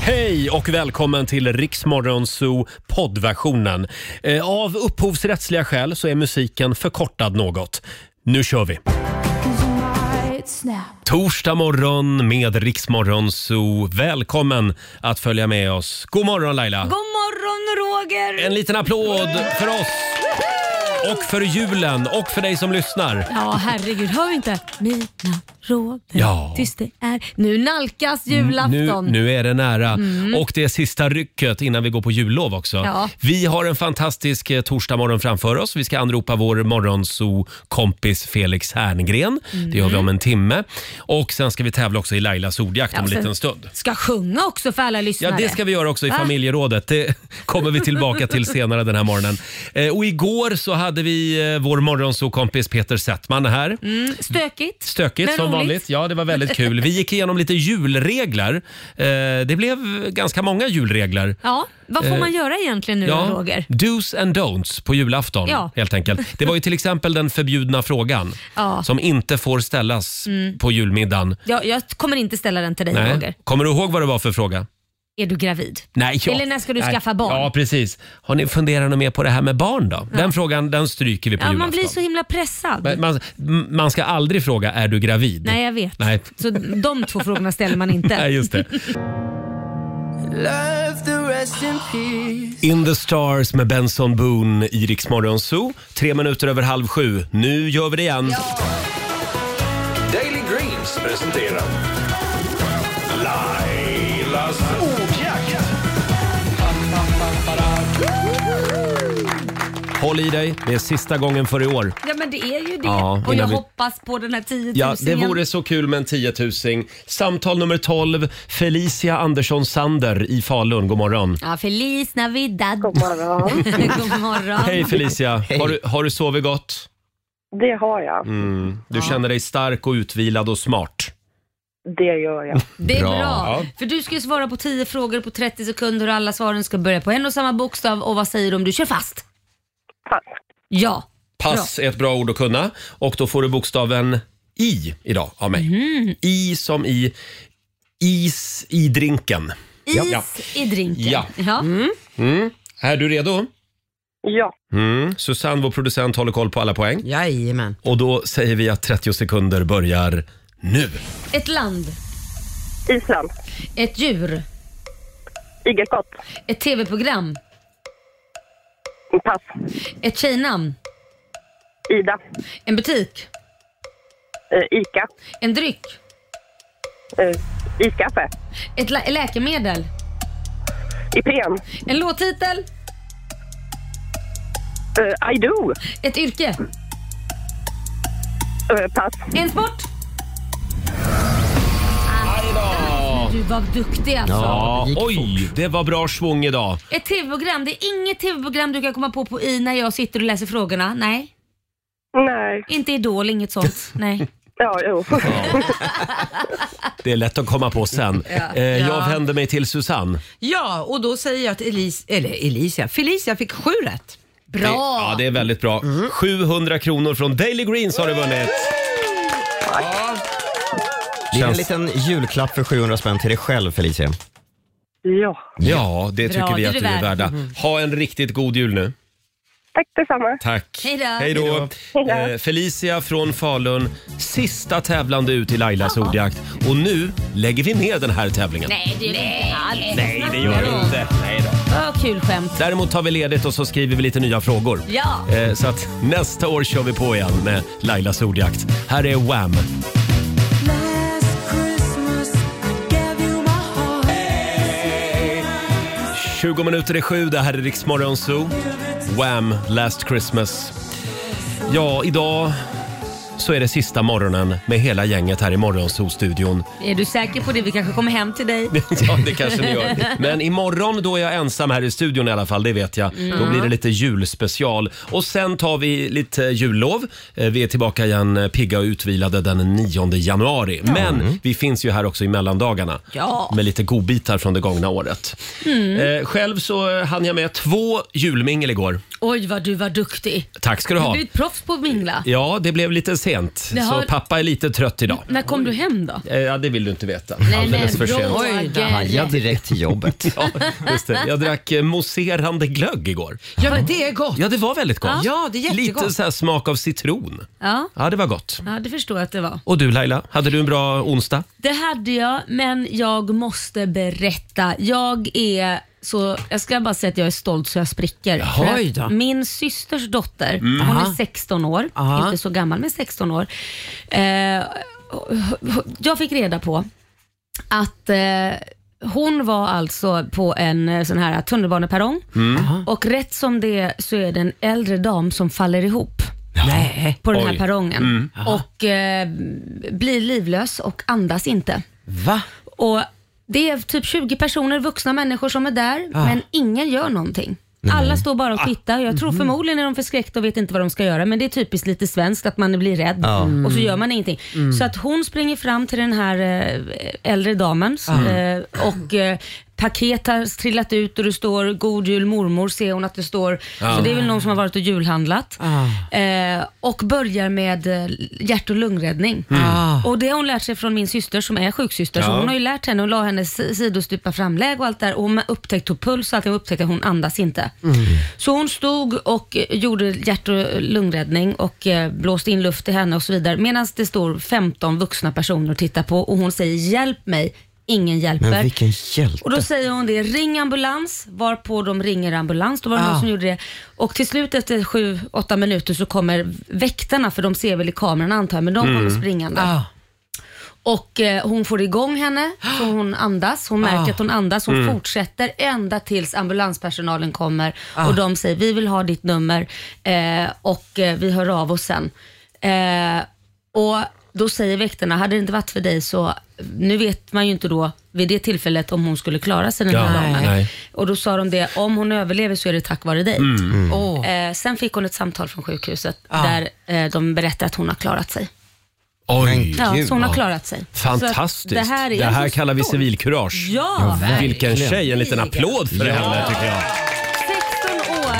Hej och välkommen till Riksmorgon Zoo poddversionen. Eh, Av upphovsrättsliga skäl så är musiken förkortad något. Nu kör vi! Torsdag morgon med Riksmorgon Zoo. Välkommen att följa med oss. God morgon Laila! God morgon Roger! En liten applåd för oss och för julen och för dig som lyssnar. Ja herregud, hör vi inte? Mina Roger, Ja. Mm, tyst det är. Nu nalkas julafton. Mm. Nu, nu är det nära. Och det är sista rycket innan vi går på jullov också. Ja. Vi har en fantastisk eh, torsdagmorgon framför oss. Vi ska anropa vår morgonso-kompis Felix Herngren. Mm. Det gör vi om en timme. Och sen ska vi tävla också i Lailas ordjakt om en sen liten stund. Ska sjunga också för alla lyssnare. Ja, det ska vi göra också i Va? familjerådet. Det kommer vi tillbaka till senare den här morgonen. Eh, Och igår så hade vi eh, vår morgonsokompis Peter Settman här. Mm, Stökigt. Stökigt Men som roligt. vanligt. Ja, det var väldigt kul. Vi gick igenom lite julregler. Eh, det blev ganska många julregler. Ja, vad får Eh, man göra egentligen nu då Roger? do's and don'ts på julafton Ja. helt enkelt. Det var ju till exempel den förbjudna frågan Ja. som inte får ställas på julmiddagen. Jag, jag kommer inte ställa den till dig Nej. Roger. Kommer du ihåg vad det var för fråga? Är du gravid? Nej, ja. Eller när ska du Nej. skaffa barn? Ja, precis. Har ni funderat något mer på det här med barn då? Den frågan den stryker vi på Ja, man julafton. blir så himla pressad. Men Man, man ska aldrig fråga är du gravid? Nej, jag vet. Nej. Så de två frågorna ställer man inte. Nej, just det. In the stars med Benson Boone i Rix Morgon Zoo. Tre minuter över halv sju. Nu gör vi det igen. Daily Greens presenterar Lailas ordjakt. Håll i dig, det är sista gången för i år. Ja, men det är ju det. Ja, och innan jag vi- hoppas på den här 10 000 Ja, det vore så kul med en tiotusing. Samtal nummer 12, Felicia Andersson Sander i Falun. God morgon. Ja, Feliz Navidad. God morgon. God morgon. Hej Felicia, Har, du, har du sovit gott? Det har jag. Mm. Du känner dig stark och utvilad och smart. Det gör jag. Det är Bra. bra. Ja. För du ska ju svara på 10 frågor på 30 sekunder och alla svaren ska börja på en och samma bokstav. Och vad säger du om du kör fast? Fast. Ja. Pass är ett bra ord att kunna. Och då får du bokstaven I idag av mig. I som i is i drinken. Is Ja. i drinken. Ja. Mm. Ja. Är du redo? Ja. Mm. Susanne, vår producent, håller koll på alla poäng. Jajamän. Och då säger vi att 30 sekunder börjar nu. Ett land. Island. Ett djur. Igelkott. Ett tv-program. Pass. Ett tjejnamn. Ida. En butik. Eh, Ica. En dryck. Eh, Iskaffe. Ett lä- läkemedel. Ipren. En låttitel. Eh, I do. Ett yrke. Eh, pass. En sport. Du var duktig alltså. Ja, det gick oj, det var bra svung idag. Ett tv-program. Det är inget tv-program du kan komma på, på i när jag sitter och läser frågorna. Nej. Nej. Inte Idol, inget sånt. Nej. Ja, jo. Det är lätt att komma på sen. Eh, Ja. jag vänder mig till Susanne. Ja, och då säger jag att Elis, eller Elisia, Felicia fick sju rätt. Det, Bra! ja, det är väldigt bra. 700 kronor från Daily Greens har du vunnit. Det är en Känns- liten julklapp för 700 spänn till dig själv Felicia. ja. Ja, det tycker Bra, vi det Mm. att du är du är värd. värda. Ha en riktigt god jul nu. Tack detsamma. Tack. Hej då. Hej då. Hej då. Eh, Felicia från Falun, sista tävlande ut i Lailas ordjakt. Och nu lägger vi ner den här tävlingen. Nej, det gör det inte alls. Nej, det gör vi inte. Nej då. Vad kul skämt. Däremot tar vi ledigt och så skriver vi lite nya frågor. Ja. Eh, Så att nästa år kör vi på igen med Lailas ordjakt. Här är Wham! Last Christmas, I gave you my heart. 20 minuter i sju, det här är Riksmorgon Zoo. Wham! Last Christmas. Ja, idag så är det sista morgonen med hela gänget här i Morgonzoo-studion. Är du säker på det? Vi kanske kommer hem till dig. Ja, det kanske ni gör. Men imorgon då är jag ensam här i studion i alla fall, det vet jag. Då blir det lite julspecial. Och sen tar vi lite jullov. Eh, Vi är tillbaka igen eh, pigga och utvilade den 9 januari. Men vi finns ju här också i mellandagarna. Mm. Ja. Med lite Mm. eh, godbitar från det gångna året. Eh, själv så eh, hann jag med två julmingel igår. Oj vad du var duktig. Tack ska du Du ha. blev ett proffs på att mingla. Ja, det blev lite sent. Det har- Så pappa är lite trött idag. När kom du hem då? Eh, Ja, det vill du inte veta. Nej, men Alldeles för sent. Ja, Roger. direkt till jobbet. Ja, just det. Jag drack eh, mousserande glögg igår. Ja, men det är gott. Ja, det var väldigt gott. Ja, det är jättegott. Lite så här smak av citron. Ja. Ja, det var gott. ja, det förstår jag att det var. Och du Laila, hade du en bra onsdag? Det hade jag, men jag måste berätta. Jag är så, jag ska bara säga att jag är stolt så jag spricker. För att Oj då. Min systers dotter, hon är 16 år, Aha. inte så gammal men 16 år. Eh, jag fick reda på att eh, hon var alltså på en eh, sån här tunnelbaneperrong Mm. och rätt som det är så är det en äldre dam som faller ihop Nej. på den Oj. Mm. här perrongen och eh, blir livlös och andas inte. Va? Och det är typ 20 personer, vuxna människor som är där, men ingen gör någonting. Alla står bara och tittar. Jag tror förmodligen är de förskräckta och vet inte vad de ska göra. Men det är typiskt lite svenskt att man blir rädd och så gör man ingenting. Så att hon springer fram till den här eh, äldre damen eh, och eh, paket har trillat ut och det står God Jul mormor ser hon att det står. Så det är väl någon som har varit och julhandlat. Eh, och börjar med eh, hjärt och lungräddning. Ah. Och det har hon lärt sig från min syster som är sjuksyster. Så hon har ju lärt henne och la henne si- sidostupa framläge och allt där. Och hon upptäckte tog puls och allting och upptäckte att hon andas inte. Mm. Så hon stod och eh, gjorde hjärt och lungräddning och eh, blåste in luft i henne och så vidare. Medan det står 15 vuxna personer och tittar på och hon säger hjälp mig. Ingen hjälper. Men vilken hjälte. Och då säger hon det, ring ambulans, varpå de ringer ambulans. Då var det någon som gjorde det. Och till slut efter sju, åtta minuter så kommer väktarna, för de ser väl i kameran antar jag, men de kommer springande. Ah. Och eh, hon får igång henne, så hon andas. Hon märker att hon andas. Hon fortsätter ända tills ambulanspersonalen kommer och de säger, vi vill ha ditt nummer eh, och eh, vi hör av oss sen. Eh, och då säger väktarna, hade det inte varit för dig så, nu vet man ju inte då vid det tillfället om hon skulle klara sig den här Ja, dagen. nej. Mm. Och då sa de det, om hon överlever så är det tack vare dig. Åh. Eh, sen fick hon ett samtal från sjukhuset där eh, de berättade att hon har klarat sig. Oj! Ja, Gud, så hon har ja. klarat sig. Så Fantastiskt! att Det här, är det här jag så kallar vi stolt. civilkurage. Ja, Vilken tjej! En liten applåd för henne tycker jag.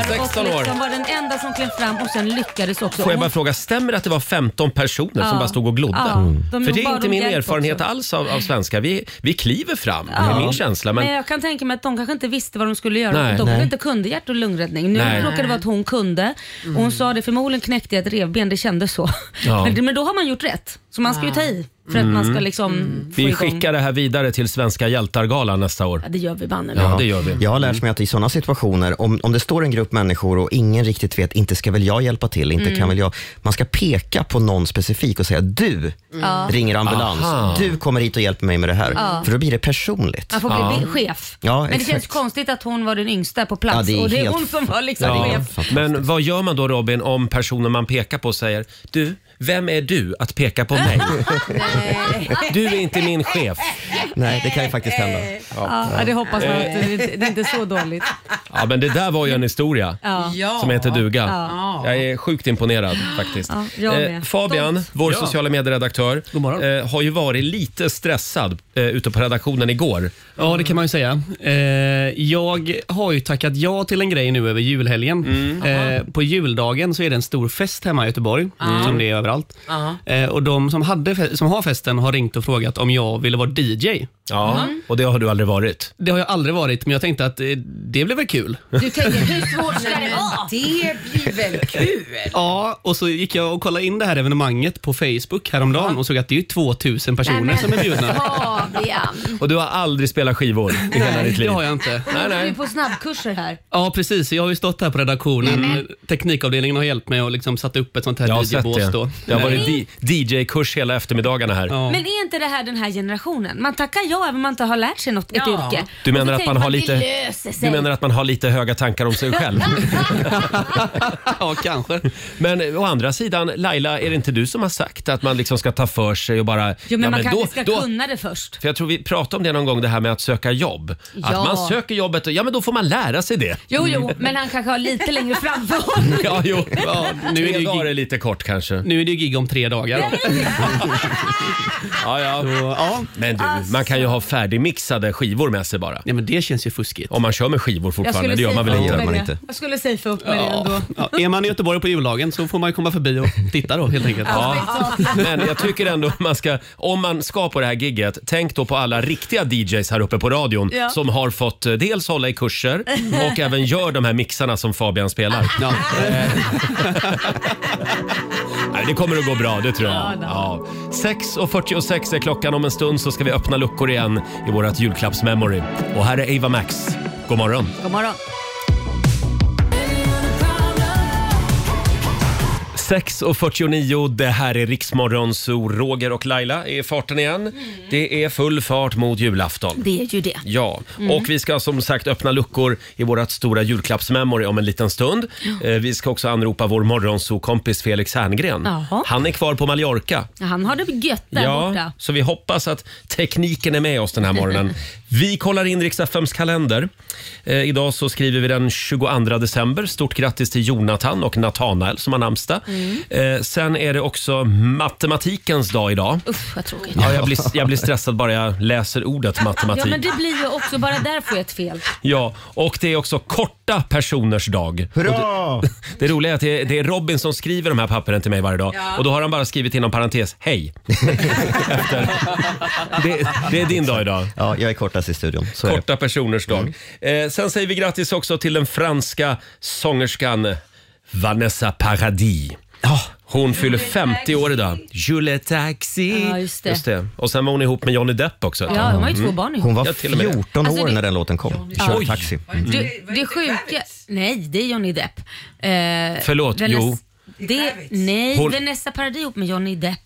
16 år 16 år. och liksom var den enda som klev fram och sen lyckades också. Får jag bara Hon- fråga, stämmer det att det var 15 personer som Ja. bara stod och glodde? Ja, de- För det de är bad inte om min hjälp erfarenhet också. alls av, av svenskar. Vi, vi kliver fram, är min känsla. men... Men, jag kan tänka mig att de kanske inte visste vad de skulle göra. Nej. de kanske Nej. inte kunde hjärt och lungräddning. Nu Nej. råkade det vara att hon kunde. Och hon sa det, förmodligen knäckte jag ett revben, det kändes så. Ja. Mm. Men, men då har man gjort rätt. Så man ska ju ta i för att man ska liksom få vi igång. skickar det här vidare till Svenska hjältargalan nästa år. Ja, det gör vi banne mig. Ja, det gör vi. Mm. Jag har lärt mig att i sådana situationer, om, om det står en grupp människor och ingen riktigt vet, inte ska väl jag hjälpa till, inte Mm. kan väl jag. Man ska peka på någon specifik och säga, Mm. du ringer ambulans, Aha. du kommer hit och hjälper mig med det här. För då blir det personligt. Man får bli chef. Ja, men det exakt. känns konstigt att hon var den yngsta på plats Ja, det är och det är helt- hon som var liksom Ja, det är chef. helt fantastiskt. Men vad gör man då Robin om personen man pekar på säger Du, vem är du att peka på mig? du är inte min chef. Nej, det kan ju faktiskt hända. Ja, det hoppas man att det, det är inte så dåligt. Eh, Ja, men det där var ju en historia Ja. som heter duga. Ja. Jag är sjukt imponerad faktiskt. Eh, Ja, jag med. Fabian, vår sociala medieredaktör, God morgon. eh, har ju varit lite stressad eh, ute på redaktionen igår. Ja, det kan man ju säga. Eh, jag har ju tackat ja till en grej nu över julhelgen. Mm. Eh, på juldagen så är det en stor fest hemma i Göteborg, som det är överallt. Aha. Eh, och de som, hade fe- som har festen har ringt och frågat om jag ville vara DJ. Ja, och det har du aldrig varit. Det har jag aldrig varit, men jag tänkte att eh, det blev väl kul. Du tänker, hur svårt ska det vara? Det blir väl kul? Ja, och så gick jag och kollade in det här evenemanget på Facebook häromdagen och såg att det är ju 2000 personer som är bjudna. Fabian, Och du har aldrig spelat skivor i hela ditt det liv. har jag inte. Nej, du är nej. på snabbkurser här. Ja, precis. Jag har ju stått här på redaktionen. Teknikavdelningen har hjälpt mig och liksom satt upp ett sånt här Jag har DJ-bås sett det. då. Det har varit di- DJ-kurs hela eftermiddagarna här. Ja. Men är inte det här den här generationen? Man tackar ja även om man inte har lärt sig något, ett Ja. yrke. Du Och menar, så att tänker man har Det lite, löser sig. du menar att man har lite höga tankar om sig själv? Ja, kanske. Men eh, å andra sidan, Laila, är det inte du som har sagt att man liksom ska ta för sig och bara... Jo, men Ja, man kanske då- ska då- kunna det först. För jag tror vi pratade om det någon gång, det här med att söka jobb. Ja. Att man söker jobbet och ja, men då får man lära sig det. Jo, jo, Mm. men han kanske har lite längre framförhållning. Ja, jo. Ja, nu, är det Tre ju dagar gig, är lite kort kanske. nu är det ju gig om tre dagar. Då. Ja, ja. Så, ja. Alltså. Men du, man man kan ju ha färdigmixade skivor med sig bara. Nej, men det känns ju fuskigt. Om man kör med skivor fortfarande, skulle det gör man väl säga- inte? gör man det. inte. Jag skulle safea upp med det Ja. ändå. Ja, är man i Göteborg på juldagen så får man ju komma förbi och titta då helt enkelt. Ja, men jag tycker ändå man ska, om man ska på det här gigget, tänk då på alla riktiga DJs här uppe på radion Ja. som har fått eh, dels hålla i kurser och även gör de här mixarna som Fabian spelar. Ja. Nej, det kommer att gå bra, det tror jag. Ja. 6.46 är klockan. Om en stund så ska vi öppna luckor igen i vårt julklappsmemory. Och här är Ava Max. God morgon. God morgon. 6.49, det här är Riksmorgon, så Roger och Laila är i farten igen. Det är full fart mot julafton. Det är ju det. Ja, Mm. och vi ska som sagt öppna luckor i vårt stora julklappsmemory om en liten stund. Eh, Vi ska också anropa vår morgonsokompis Felix Herngren. Jaha. Han är kvar på Mallorca. Ja, Han har det gött där borta. så vi hoppas att tekniken är med oss den här morgonen. Vi kollar in Riks-FMs kalender. Eh, idag så skriver vi den 22 december. Stort grattis till Jonathan och Nathanael som har namnsdag. Mm. Eh, sen är det också matematikens dag idag. Uff, vad tråkigt. Ja, jag, blir, jag blir stressad bara jag läser ordet Ja, matematik. men det blir ju också, bara där får jag ett fel. Ja, och det är också korta personers dag. Hurra! Det roliga är att det är, det är Robin som skriver de här papperen till mig varje dag och då har han bara skrivit inom parentes hej. Efter. Det, det är din dag idag. Ja, jag är kortast i studion. Så är det. Mm. Korta personers dag. Eh, sen säger vi grattis också till den franska sångerskan Vanessa Paradis. Hon fyller 50 år idag. Julie Taxi. Ja, just det. Och sen var hon ihop med Johnny Depp också. Ja, de har ju två barn ihop. Hon var Jag till och med- 14 Alltså, år det- när den låten kom. Kör Oj. taxi. Mm. Det, det sjuka... Nej, det är Johnny Depp. Eh, Förlåt, Vanessa- jo. Det, nej, Hon- Vanessa Paradis ihop med Johnny Depp.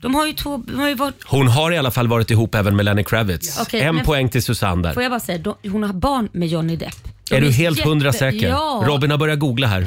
De har ju två... De har ju varit, Hon har i alla fall varit ihop även med Lenny Kravitz. Okej, en men- poäng till Susanne där. får jag bara säga, de, hon har barn med Johnny Depp. De Är du helt jätte- hundra säker? Ja, Robin har börjat googla här.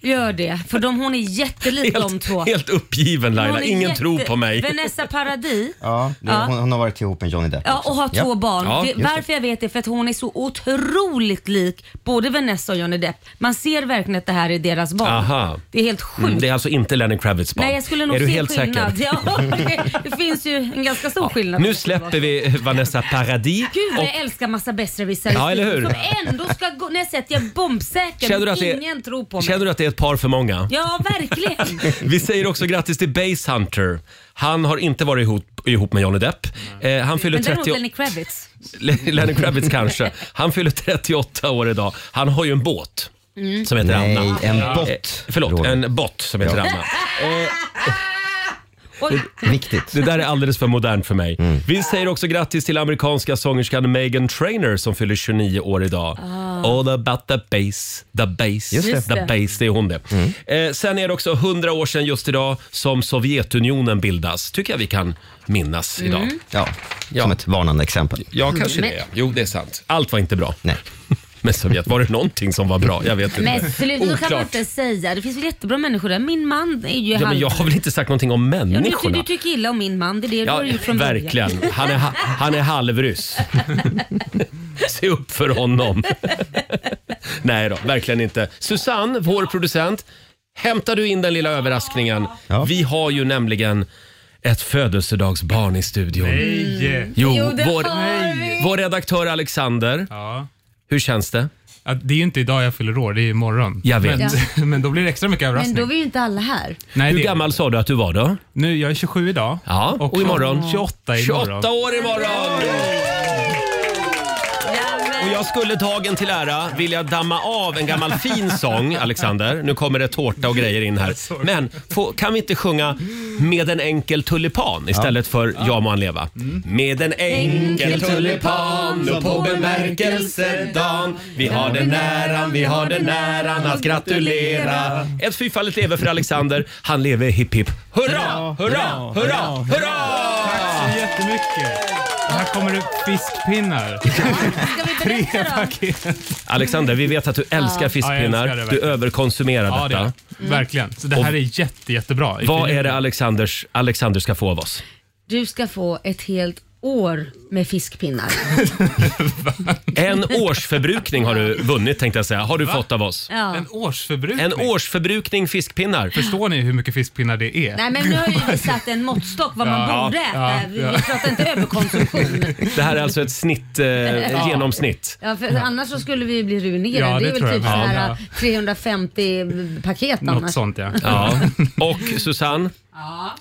gör det. För de, hon är jättelik de Helt, två. helt uppgiven Hon Laila, är ingen jätte- tror på mig. Vanessa Paradis Ja, det- Ja. Hon, hon har varit ihop med Johnny Depp Ja, också. och har två Ja. barn. Ja, det, just varför jag vet det är för att hon är så otroligt lik både Vanessa och Johnny Depp. Man ser verkligen att det här är deras barn. Aha. Det är helt sjukt. Mm, det är alltså inte Lenny Kravitz barn. Nej, jag skulle nog är du se helt skillnad. säker? Ja, det, det finns ju en ganska stor skillnad. Nu släpper vi Vanessa Paradis. Gud vad Och jag älskar massa bästrevisare Ja, eller hur? som ändå ska gå... När jag säger att jag är bombsäker Känner du men att det- ingen tror på mig. känner du att det är ett par för många? Ja, verkligen. Vi säger också grattis till Base Hunter. Han har inte varit ihop, ihop med Johnny Depp. Eh, han fyller Men däremot 30... Lenny Kravitz. Lenny Kravitz kanske. Han fyller 38 år idag. Han har ju en båt Mm. som heter Nej, Anna. en Eh, bott. förlåt, Roger. en bott som heter Anna. Eh, Oj, Viktigt. Mm. Det där är alldeles för modernt för mig. Vi säger också grattis till amerikanska sångerskan Megan Trainor som fyller 29 år idag. Ah. All about the bass, the bass, Just the det. bass, det är hon det. Mm. Eh, sen är det också 100 år sedan just idag som Sovjetunionen bildas. Tycker jag vi kan minnas Mm. idag. Ja, Ja. som ett varnande exempel. Ja, kanske Men- det. ja. Jo, det är sant. Allt var inte bra. Nej. Men Sovjet, var det någonting som var bra? Jag vet inte. men sluta, då kan man inte säga. Det finns väl jättebra människor där. Min man är ju Ja, men halv- jag har väl inte sagt någonting om Ja, men du, ty- människorna? du tycker illa om min man, det är det du har gjort från början. verkligen. Han är, ha- han är halvryss. Se upp för honom. Nej då, verkligen inte. Susanne, vår producent, hämtar du in den lilla överraskningen? Ja. Vi har ju nämligen ett födelsedagsbarn i studion. Nej! Jo, Jo, det vår, har vi. vår redaktör Alexander, Ja. hur känns det? Ja, det är ju inte idag jag fyller år, det är imorgon. Jag vet. Liksom. Men, men då blir det extra mycket Men överraskning. då är ju inte alla här. Nej, Hur det- gammal sa du att du var då? Nu, jag är 27 idag. Ja, och imorgon? 28 imorgon. 28 år imorgon! Och jag skulle dagen till ära vilja damma av en gammal fin sång, Alexander. Nu kommer det tårta och grejer in här. Men få, kan vi inte sjunga Med en enkel tulipan istället för Ja må han leva? Med en enkel tulipan och på bemärkelsedagen Vi har den äran, vi har den äran att gratulera Ett fyrfaldigt leve för Alexander. Han lever hipp hipp hurra, hurra, hurra, hurra! Tack så jättemycket. Och här kommer det fiskpinnar. Ska vi Tre berätta då? paket. Alexander, vi vet att du älskar Ja, jag fiskpinnar. älskar det Du verkligen. överkonsumerar Ja, det är detta. Mm. det. Verkligen. Så det här är jätte, jättebra. Vad är det Alexanders, Alexander ska få av oss? Du ska få ett helt år med fiskpinnar. En årsförbrukning har du vunnit tänkte jag säga. Har du fått av oss. Ja. En årsförbrukning. En årsförbrukning fiskpinnar. Förstår ni hur mycket fiskpinnar det är? Nej men nu har ju vi satt en måttstock vad man Ja, borde äta. ja, vi, ja. vi pratar inte överkonsumtion. Det här är alltså ett snitt, eh, genomsnitt. Ja, för annars så skulle vi ju bli ruinerade. Ja, det, det är väl tror typ jag så med. här Ja. 350 paket Något annars. sånt ja. Ja. Och Susanne,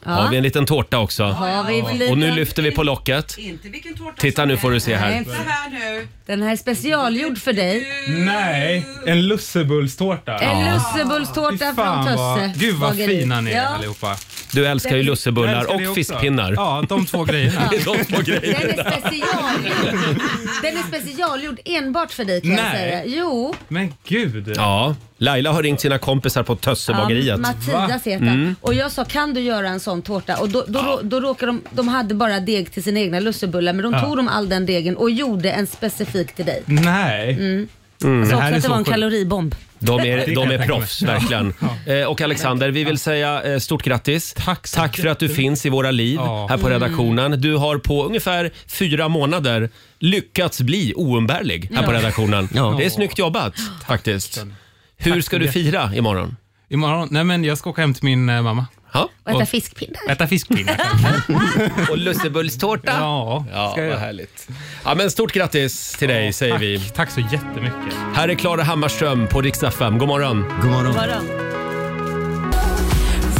har vi en liten tårta också. Har vi väl Och nu lite- lyfter vi på locket. Inte vilken tårta Titta som nu helst. får du se här. Nej, Titta här nu. Den här är specialgjord för dig. Nej, en lussebullstårta. En Fy lussebullstårta från fan vad, Tösse. gud vad bageri. fina ni är Ja. allihopa. Du älskar ju Jag lussebullar älskar det också. och fiskpinnar. Ja, de två grejerna. Det är de två Den grejerna. är specialgjord. Den är specialgjord enbart för dig kan jag Nej. säga. Jo. Men gud. Ja, Laila har ringt sina kompisar på Tössebageriet. Mattias heter han. Och jag sa kan du göra en sån tårta? Och då, då, då, då råkade de, de hade bara deg till sina egna lussebullar men de tog de all den degen och gjorde en specifik till dig. Nej. Mm. Mm, Så Mm. här också är att det så var en sjukt. kaloribomb. De är, kan de jag är tänka proffs, verkligen. Eh, Och Alexander, vi vill säga eh, stort grattis. Tack så Tack för att du finns i våra liv Ja. Mm. här på redaktionen. Du har på ungefär fyra månader lyckats bli oumbärlig här på redaktionen. Ja. Det är snyggt jobbat faktiskt. Hur ska du fira imorgon? Imorgon, nej men jag ska åka hem till min eh, mamma. Ha? Och äta Och- fiskpinnar. Äta fiskpinnar Och lussebullstårta. Ja. Ja, vad härligt. Ja, men stort grattis till dig säger Tack, vi. tack så jättemycket. Här är Klara Hammarström på Rix FM. God morgon. God morgon. Run to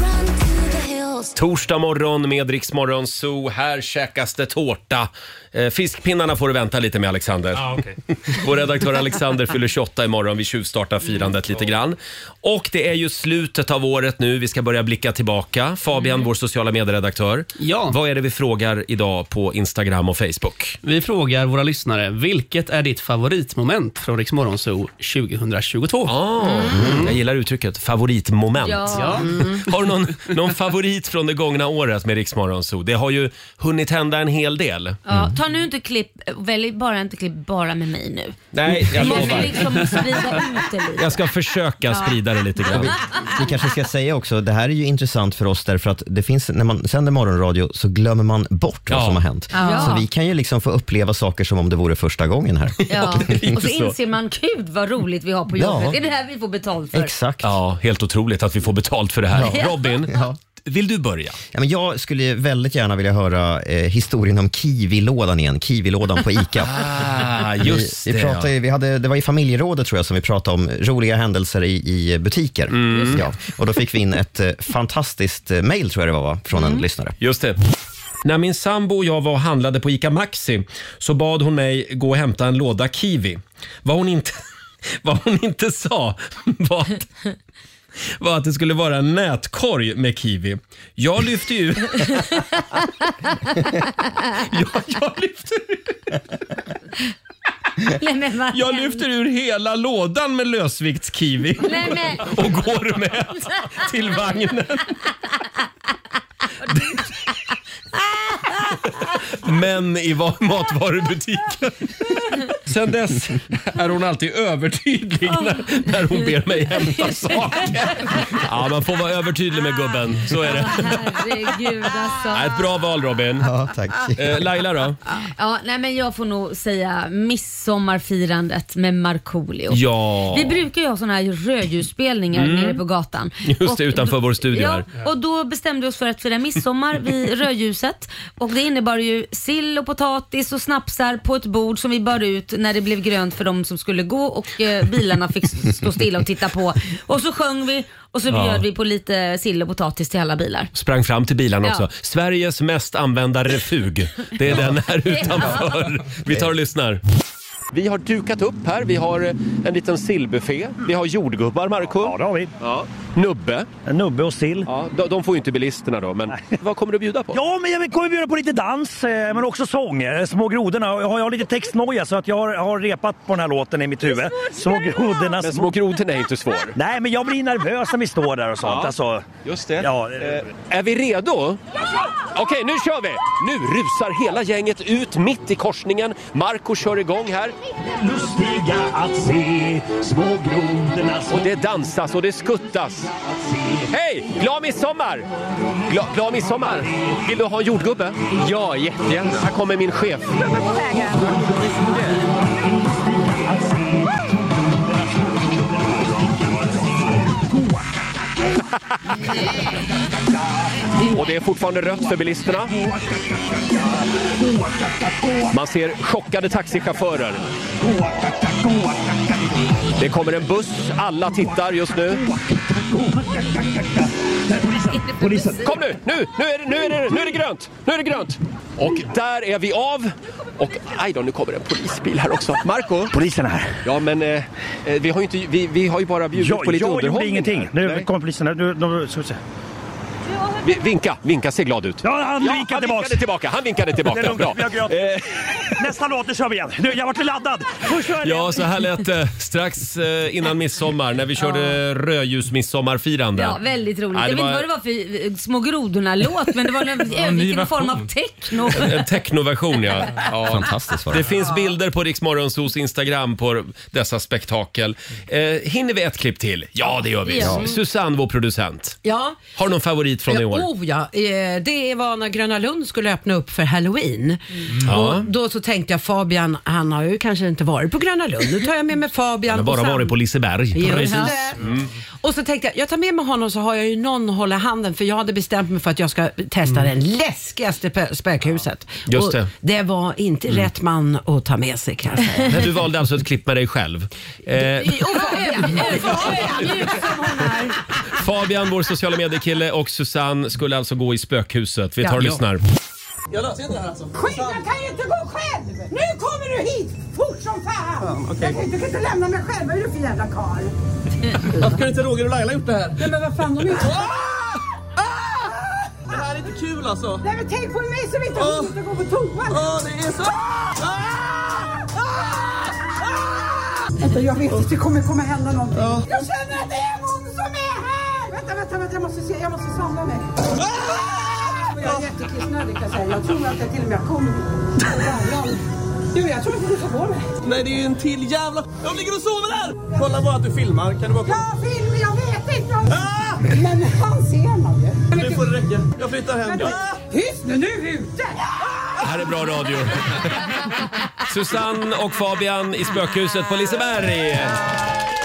the hills. Torsdag morgon med Rix Morgon Zoo. Här käkas det tårta. Eh, Fiskpinnarna får du vänta lite med Alexander. Ja, okej. Vår redaktör Alexander fyller 28 imorgon. Vi tjuvstartar firandet lite grann. Och det är ju slutet av året nu. Vi ska börja blicka tillbaka. Fabian, vår sociala medieredaktör. Ja. Vad är det vi frågar idag på Instagram och Facebook? Vi frågar våra lyssnare, vilket är ditt favoritmoment från Rix Morgonzoo 2022? Ah, Jag gillar uttrycket favoritmoment. Ja. Har du någon, någon favorit från det gångna året med Rix Morgon Zoo? Det har ju hunnit hända en hel del. Ja, ta nu inte klipp, välj bara inte klipp bara med mig nu. Nej, jag Du måste lovar. liksom sprida ut det lite. Jag ska försöka sprida det lite grann. Vi, vi kanske ska säga också, det här är ju intressant för oss därför att det finns, när man sänder morgonradio så glömmer man bort Ja. vad som har hänt. Ja. Så vi kan ju liksom få uppleva saker som om det vore första gången här. Ja. Och så lite så. inser man, gud vad roligt vi har på Ja. jobbet. Det är det här vi får betalt för. Exakt. Ja, helt otroligt att vi får betalt för det här. Ja. Robin, vill du börja? Ja, men jag skulle ju väldigt gärna vilja höra eh, historien om kiwilådan igen, kiwilådan på ICA. Ah, vi, vi pratade, ju- vi hade, det var i familjerådet tror jag som vi pratade om roliga händelser i, i butiker. Mm. Ja, och då fick vi in ett eh, fantastiskt eh, mail tror jag det var va? från en lyssnare. Mm. Just det. När min sambo och jag var och handlade på ICA Maxi så bad hon mig gå och hämta en låda kiwi. Vad hon inte, vad hon inte sa var att, var att det skulle vara en nätkorg med kiwi. Jag lyfte ju... jag, jag, lyfte, Nej, men vad jag händer? lyfter ur hela lådan med lösviktskiwi Nej, men, och går med till vagnen. Men i va- matvarubutiken. Sen dess är hon alltid övertydlig när, när hon ber mig hämta saker. Ja, man får vara övertydlig med gubben. Så är det. herregud Ja, alltså. Ett bra val Robin. Ja, tack. Eh, Laila då? Ja, nej, men jag får nog säga midsommarfirandet med Markoolio. Ja. Mm. Vi brukar ju ha såna här rödljusspelningar nere på gatan. Just det, Och utanför då- vår studio ja, här. Och då bestämde vi oss för att fira midsommar vid rödljuset. Och det innebar ju sill och potatis och snapsar på ett bord som vi bar ut när det blev grönt för de som skulle gå och eh, bilarna fick s- stå stilla och titta på. Och så sjöng vi och så bjöd vi på lite sill och potatis till alla bilar. Sprang fram till bilarna Ja. också. Sveriges mest använda refug. Det är den här utanför. Vi tar och lyssnar. Vi har dukat upp här. Vi har eh, en liten sillbuffé. Vi har jordgubbar, Marco. Ja, det har vi. Ja. Nubbe. En nubbe och sill. Ja, de, de får ju inte bilisterna då, men vad kommer du bjuda på? Ja, men jag kommer bjuda på lite dans, eh, men också sång. eh, Små grodorna. Jag har, jag har lite textnoja så att jag har, har repat på den här låten i mitt huvud. Små grodorna. Men Små... Små grodorna är inte svår. Nej, men jag blir nervös när vi står där och sånt. Ja. Alltså, Just det. Ja, Eh, är vi redo? Okej, nu kör vi! Nu rusar hela gänget ut mitt i korsningen. Marco kör igång här. Lustiga att se, små grodorna. Och det dansas och det skuttas. Hej! Glad midsommar! Gla, glad midsommar! Vill du ha en jordgubbe? Ja, jättegärna. Här kommer min chef. Och det är fortfarande rött för bilisterna. Man ser chockade taxichaufförer. Det kommer en buss. Alla tittar just nu. Polisen. Kom nu! Nu, nu, är, det, nu, är, det, nu är det grönt! Nu är det grönt! Och där är vi av. Och aj då, nu kommer en polisbil här också. Marco? Polisen är här. Ja, men eh, eh, vi, har ju inte, vi, vi har ju bara bjudit Jag, på lite jag gjorde underhållning. ingenting. här. Nu Nej. kommer polisen här. Nu, nu, ska vi se. Vi- Vinka, vinka, se glad ut. Ja, han Ja, vinkade han tillbaks. vinkade tillbaka. Han vinkade Det tillbaka. är lugnt, Bra. Eh. jag gröt. Nästa låt, nu kör vi igen. Nu, jag vart laddad. Först var jag Ja, så här lät det strax eh, innan midsommar när vi körde rödljusmidsommarfirande. Ja, väldigt roligt. Ja, det jag vet inte var- vad det var för eh, Små grodorna-låt, men det var en en ny övergiven form av version. techno. En technoversion ja. ja. Fantastiskt var Det det. finns bilder på Riksmorgonsos Instagram på dessa spektakel. Eh, hinner vi ett klipp till? Ja, det gör vi. Ja. Susanne, vår producent. Ja. Har du någon favorit från i Ja, år? oh ja, Eh, det var när Gröna Lund skulle öppna upp för halloween. Mm. Ja. Och då så tänkte jag Fabian, han har ju kanske inte varit på Gröna Lund. Nu tar jag med mig Fabian. Han har och bara Sam. varit på Liseberg. Mm. Jo, det. Och så tänkte jag, jag tar med mig honom så har jag ju någon att hålla handen för jag hade bestämt mig för att jag ska testa den läskigaste pö- spökhuset. Mm. Just och det. Mm. det var inte rätt man att ta med sig kanske. Men du valde alltså ett klipp med dig själv. Eh, och Fabian, och Fabian. Fabian, vår sociala mediekille och Susanne skulle alltså gå i spökhuset. Vi tar Ja. och lyssnar. alltså. Skit, jag kan ju inte gå själv! Nu kommer du hit! Fort som fan! Jag kan inte, kan inte lämna mig själv, vad är du för jävla karl? Varför kunde inte Roger och Laila gjort det här? Nej men vad fan, de är ju... Ah! Det här är inte kul alltså. Nej men tänk på mig som inte har hunnit att gå på toa! Åh, det är så... Vänta, jag vet att det kommer komma hända någonting. Jag känner att det är någon som är här! Vänta, vänta, vänta, jag måste se, jag måste samla mig. Jag är jättekissnödig kan jag säga. Jag tror att jag till och med kommer dit. Du, jag tror inte du ska gå mig. Nej, det är ju en till jävla... De ligger och sover där! Kolla bara att du filmar. Kan du bara... Ja, film, jag vet inte om... Ah! Men han ser man ju. Nu får det räcka. Jag flyttar hem. Ah! Tyst nu, nu är vi ute! Det här är bra radio. Susanne och Fabian i spökhuset på Liseberg.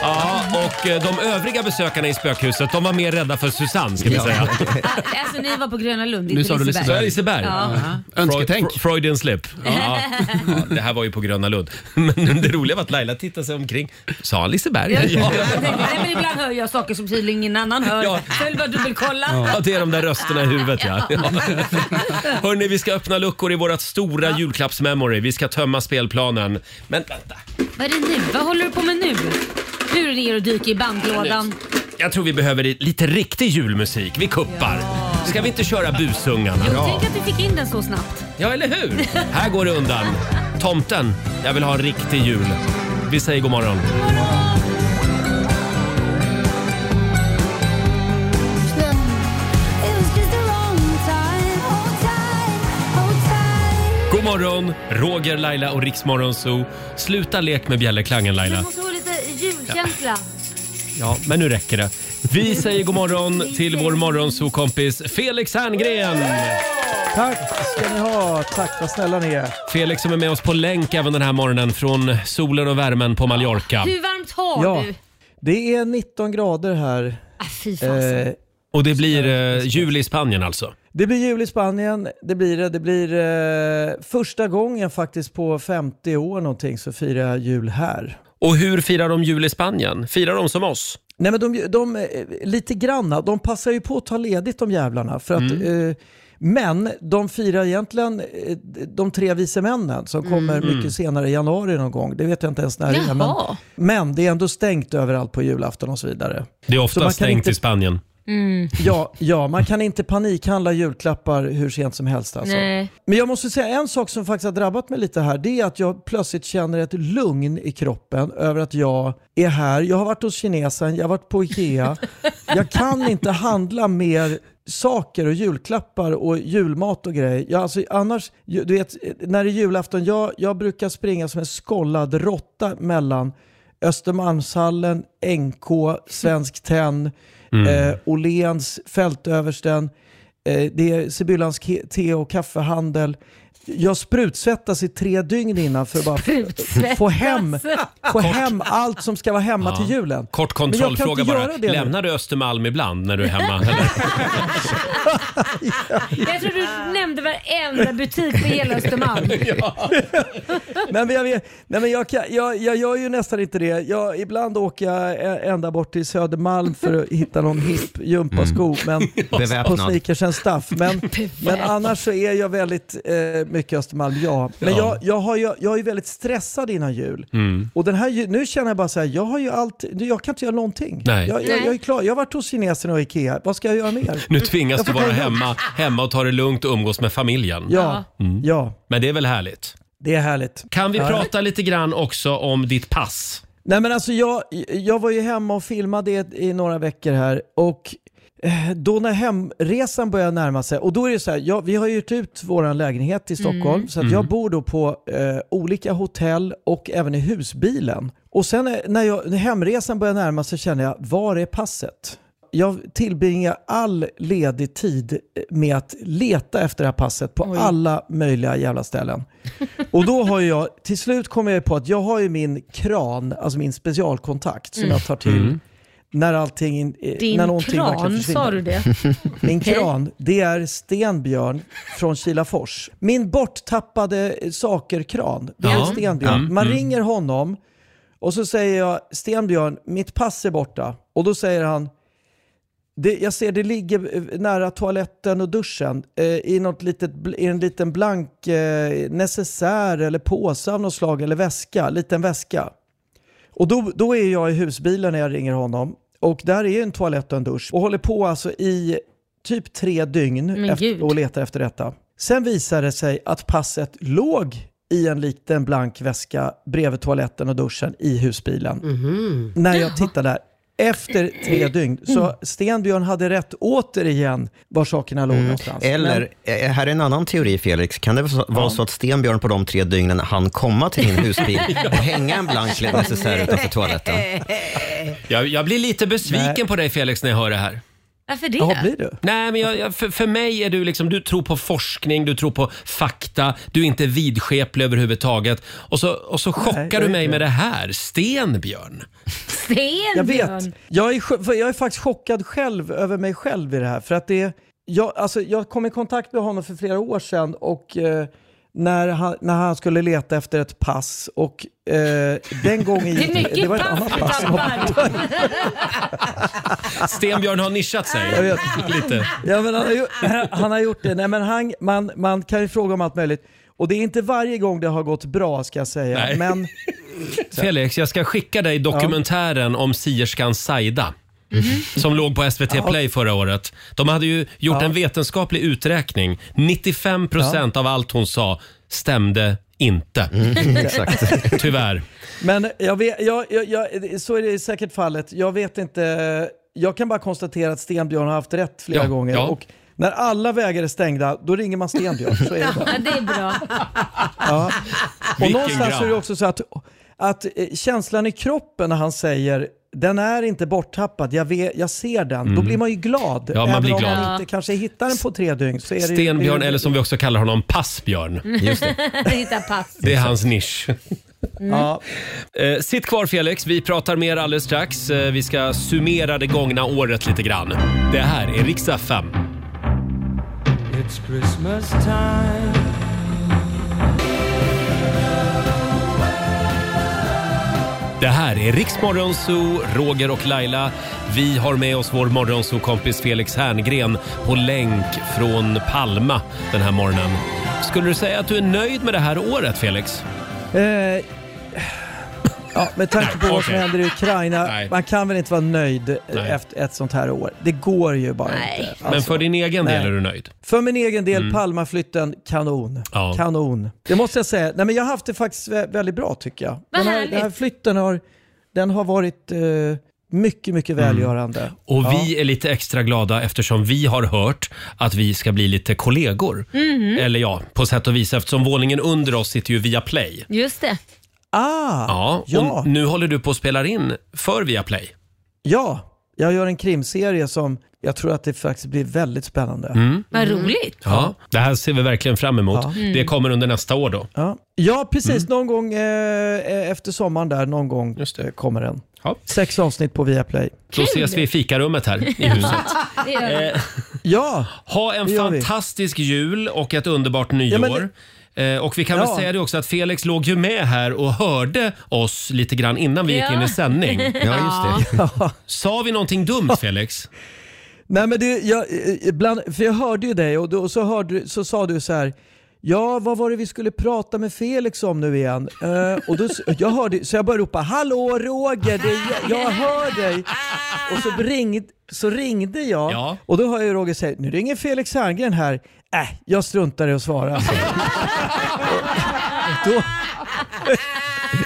Ja, och eh, de övriga besökarna i spökhuset, de var mer rädda för Susanne ska vi säga. Ah, alltså ni var på Gröna Lund, Nu inte sa du Så är Liseberg. Liseberg. Ja. Önsketänk. Fre- Freudian slip. Ja. Ja, det här var ju på Gröna Lund. Men det roliga var att Laila tittade sig omkring. Sa han Liseberg? Ja. Jag tänkte, nej, men ibland hör jag saker som tydligen ingen annan hör. Ja. Ja. Så jag vill bara dubbelkolla. Ja, det är de där rösterna i huvudet ja. ja. Hörni, vi ska öppna luckor i vårt stora julklappsmemory. Vi ska tömma spelplanen. Men vänta. Vad är det nu? Vad håller du på med nu? Nu är det ner och dyker i bandlådan. Jag tror vi behöver lite riktig julmusik. Vi kuppar. Ska vi inte köra busungarna? Tänk att du fick in den så snabbt. Ja, eller hur? Här går det undan. Tomten, jag vill ha en riktig jul. Vi säger god morgon. God morgon, Roger, Laila och Riksmorgon Zoo. Sluta lek med bjällerklangen Laila. Du måste ha lite julkänsla. Ja, men nu räcker det. Vi säger god morgon till vår morgonzoo-kompis Felix Herngren. Tack ska ni ha. Tack, vad snälla ni är. Felix som är med oss på länk även den här morgonen från solen och värmen på Mallorca. Hur varmt har Ja. du? Det är 19 grader här. Ah, fy fasen. Eh, Och det blir eh, jul i Spanien alltså. det blir jul i Spanien. Det blir det. Det blir eh, första gången faktiskt på 50 år någonting så firar jag jul här. Och hur firar de jul i Spanien? Firar de som oss? Nej men de, de eh, lite granna, de passar ju på att ta ledigt de jävlarna. För att, eh, men de firar egentligen eh, de tre vise männen som Mm. kommer mycket senare i januari någon gång. Det vet jag inte ens när det är. Men, Jaha. men det är ändå stängt överallt på julafton och så vidare. Det är Så man ofta kan stängt inte- i Spanien. Mm. Ja, ja, man kan inte panikhandla julklappar hur sent som helst alltså. Nej. Men jag måste säga en sak som faktiskt har drabbat mig lite här. Det är att jag plötsligt känner ett lugn i kroppen över att jag är här. Jag har varit hos kinesen, jag har varit på Ikea. Jag kan inte handla mer saker och julklappar och julmat och grejer. Jag, alltså, annars, ju- du vet, när det är julafton, jag, jag brukar springa som en skollad råtta mellan Östermalmshallen, NK, Svensk Tenn, Mm. eh, Åhléns, Fältöversten, eh, det är Sibyllans ke- te och kaffehandel. Jag sprutsvettas i tre dygn innan för att bara Sprutsvettas. få hem, få hem allt som ska vara hemma till julen. Kort Men jag kan inte kontrollfråga bara. göra det nu. Lämnar du Östermalm ibland när du är hemma? Eller? Jag tror du nämnde varenda butik på hela Östermalm. men jag, vet, nej men jag, kan, jag, jag gör ju nästan inte det. Jag, ibland åker jag ä- ända bort till Södermalm för att hitta någon hipp Mm. gympasko men på Beväpnad. sneakers and stuff. Men, men annars så är jag väldigt eh, mycket Östermalm, ja. Men Ja. Jag, jag, har, ju- jag är väldigt stressad innan jul. Och den här, ju- nu känner jag bara så här, jag har ju allt, jag kan inte göra någonting. Nej. Jag, jag, jag är klar, jag har varit hos kineserna och Ikea, vad ska jag göra mer? Nu tvingas Jag du får vara ta- hemma, hemma och ta det lugnt och umgås med familjen. Mm. Ja, ja. Men det är väl härligt? Det är härligt. Kan vi Ja. prata lite grann också om ditt pass? Nej men alltså jag, jag var ju hemma och filmade i- i några veckor här och eh, då när hemresan börjar närma sig, och då är det så här, ja, vi har ju hyrt ut vår lägenhet i Stockholm Mm. så att jag Mm. bor då på eh, olika hotell och även i husbilen. Och sen eh, när, jag, när hemresan börjar närma sig känner jag, var är passet? Jag tillbringar all ledig tid eh, med att leta efter det här passet på alla möjliga jävla ställen. Och då har ju jag, till slut kommer jag på att jag har ju min kran, alltså min specialkontakt som Mm. jag tar till när allting, in- eh, Din när någonting kran, verkligen försvinner. sa du det? Min Okej. kran, det är Stenbjörn från Kilafors. Min borttappade eh, saker-kran, det är Ja. Stenbjörn. Ja. Man Mm. ringer honom och så säger jag Stenbjörn, mitt pass är borta. Och då säger han, det, jag ser det ligger eh, nära toaletten och duschen eh, i, något litet, bl- i en liten blank eh, necessär eller påse av något slag eller väska, liten väska. Och då, då är jag i husbilen när jag ringer honom och där är en toalett och en dusch och håller på alltså i typ tre dygn Men efter, och letar efter detta. Sen visar det sig att passet låg i en liten blank väska bredvid toaletten och duschen i husbilen. Mm. När jag tittade där. Efter tre dygn. Så Stenbjörn hade rätt återigen var sakerna låg någonstans. Eller, Men- eh, här är en annan teori Felix. Kan det vara så- vara så att Stenbjörn på de tre dygnen han komma till din husbil och hänga en blank necessär utanför toaletten? Jag, jag blir lite besviken på dig Felix när jag hör det här. Varför det? Jaha, blir du? Nej, men jag, jag, för, för mig är du liksom, du tror på forskning, du tror på fakta, du är inte vidskeplig överhuvudtaget. Och så, och så chockar jag du är mig inte. med det här, Stenbjörn. Jag Stenbjörn! vet. Jag är, cho- för jag är faktiskt chockad själv över mig själv i det här. För att det, jag, alltså, jag kom i kontakt med honom för flera år sedan och eh, när, han, när han skulle leta efter ett pass och eh, den gången Det är gick mycket det var ett pass annat du pass. som var tappar. borta. Stenbjörn har nischat sig Jag vet. lite. Ja, men han, har gjort, han har gjort det. Nej, men han, man, man kan ju fråga om allt möjligt. Och det är inte varje gång det har gått bra ska jag säga. Nej. Men Felix, jag ska skicka dig dokumentären om sierskan Saida. Som låg på SVT Mhm. Ja. Play förra året. De hade ju gjort Ja. en vetenskaplig uträkning. 95 procent av allt hon sa stämde inte. Mm, exakt. Tyvärr. Men jag vet, jag, jag, jag, så är det säkert fallet. Jag vet inte. Jag kan bara konstatera att Stenbjörn har haft rätt flera Ja, gånger. ja. Och när alla vägar är stängda, då ringer man Stenbjörn. Så är det bara. Ja, det är bra. Ja. Och Vilken någonstans grabb. är det också så att, att eh, känslan i kroppen när han säger den är inte borttappad, jag, vet, jag ser den. Då Mm. blir man ju glad. Ja, man Även blir om glad. man inte kanske hittar den på tre dygn. Så är det ju- Stenbjörn, det är- eller som vi också kallar honom, Passbjörn. Mm. Hitta pass. Det är hans nisch. Mm. Ja. Eh, sitt kvar Felix, vi pratar mer alldeles strax. Eh, vi ska summera det gångna året lite grann. Det här är Riksdag 5. It's Christmas time. Det här är Riksmorgonzoo, Roger och Laila. Vi har med oss vår morgonzoo-kompis Felix Herngren på länk från Palma den här morgonen. Skulle du säga att du är nöjd med det här året Felix? Eh, ja, med tanke på Nej, vad som okej. händer i Ukraina, Nej. man kan väl inte vara nöjd eh, Nej. efter ett sånt här år. Det går ju bara inte. Men Alltså, för din egen del nej. är du nöjd? för min egen del, Mm. Palmaflytten, kanon. Ja. Kanon. Det måste jag säga. Nej, men jag har haft det faktiskt vä- väldigt bra tycker jag. Vad Den här, härligt. den här flytten har, den har varit eh, mycket, mycket Mm. välgörande. Och Ja. vi är lite extra glada eftersom vi har hört att vi ska bli lite kollegor. Mhm. Mm. Eller ja, på sätt och vis eftersom våningen under oss sitter ju via Play. Just det. Ah, Ja, ja. och nu håller du på att spela in för Viaplay. ja. Jag gör en krimserie som jag tror att det faktiskt blir väldigt spännande. Mm. Vad roligt. Ja, det här ser vi verkligen fram emot. Ja. Det kommer under nästa år då. Ja, ja Mm. precis. Någon gång eh, efter sommaren där, någon gång eh, kommer den. Ja. Sex avsnitt på Viaplay. Då ses vi i fikarummet här i huset. Det gör vi. Ja, Ha en Det gör vi. fantastisk jul och ett underbart nyår. Eh, Och vi kan Ja. väl säga det också att Felix låg ju med här och hörde oss lite grann innan vi gick Ja. in i sändning. Ja, just det. Sa vi någonting dumt Felix? Nej, men det, jag, eh, bland, för jag hörde ju dig och, då, och så, hörde, du- så sa du så här. Ja, vad var det vi skulle prata med Felix om nu igen? Eh, och då, s- jag hörde, så jag började ropa “Hallå Roger, det, är jag, jag hör dig!” Och så, ringd, så ringde jag Ja. och då hör jag Roger säga “Nu ringer Felix Herngren här, äh, jag struntar i att svara”. och, då,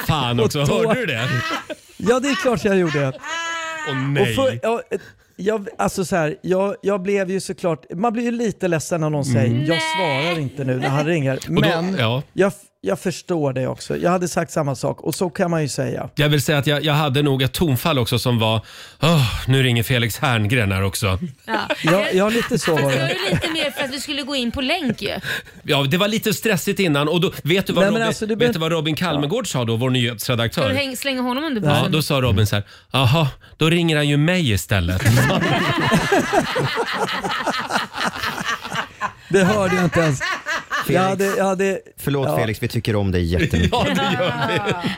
Fan också, Och då- hörde du det? ja, det är klart jag gjorde. Åh Och nej. för, jag, jag, alltså så här, jag, jag blev ju såklart, man blir ju lite ledsen när någon säger jag svarar inte nu när han ringer. Mm. då- Men ja. jag, f- jag förstår det också. Jag hade sagt samma sak och så kan man ju säga. Jag vill säga att jag, jag hade nog ett tonfall också som var "Åh, nu ringer Felix Herngren här också. Ja. Jag, jag lite så var Fast det var det. ju lite mer för att vi skulle gå in på länk ju. Ja, det var lite stressigt innan och då, vet du vad, Nej, men Robin, alltså, du vet behöver- du vad Robin Kalmegård sa då, vår Ska du nyhetsredaktör? häng- slänga honom under Ja, bussen? då sa Robin så här, jaha, då ringer han ju mig istället. Det hörde jag inte ens. Jag hade, jag hade, Förlåt Ja. Felix, vi tycker om dig jättemycket. ja, det gör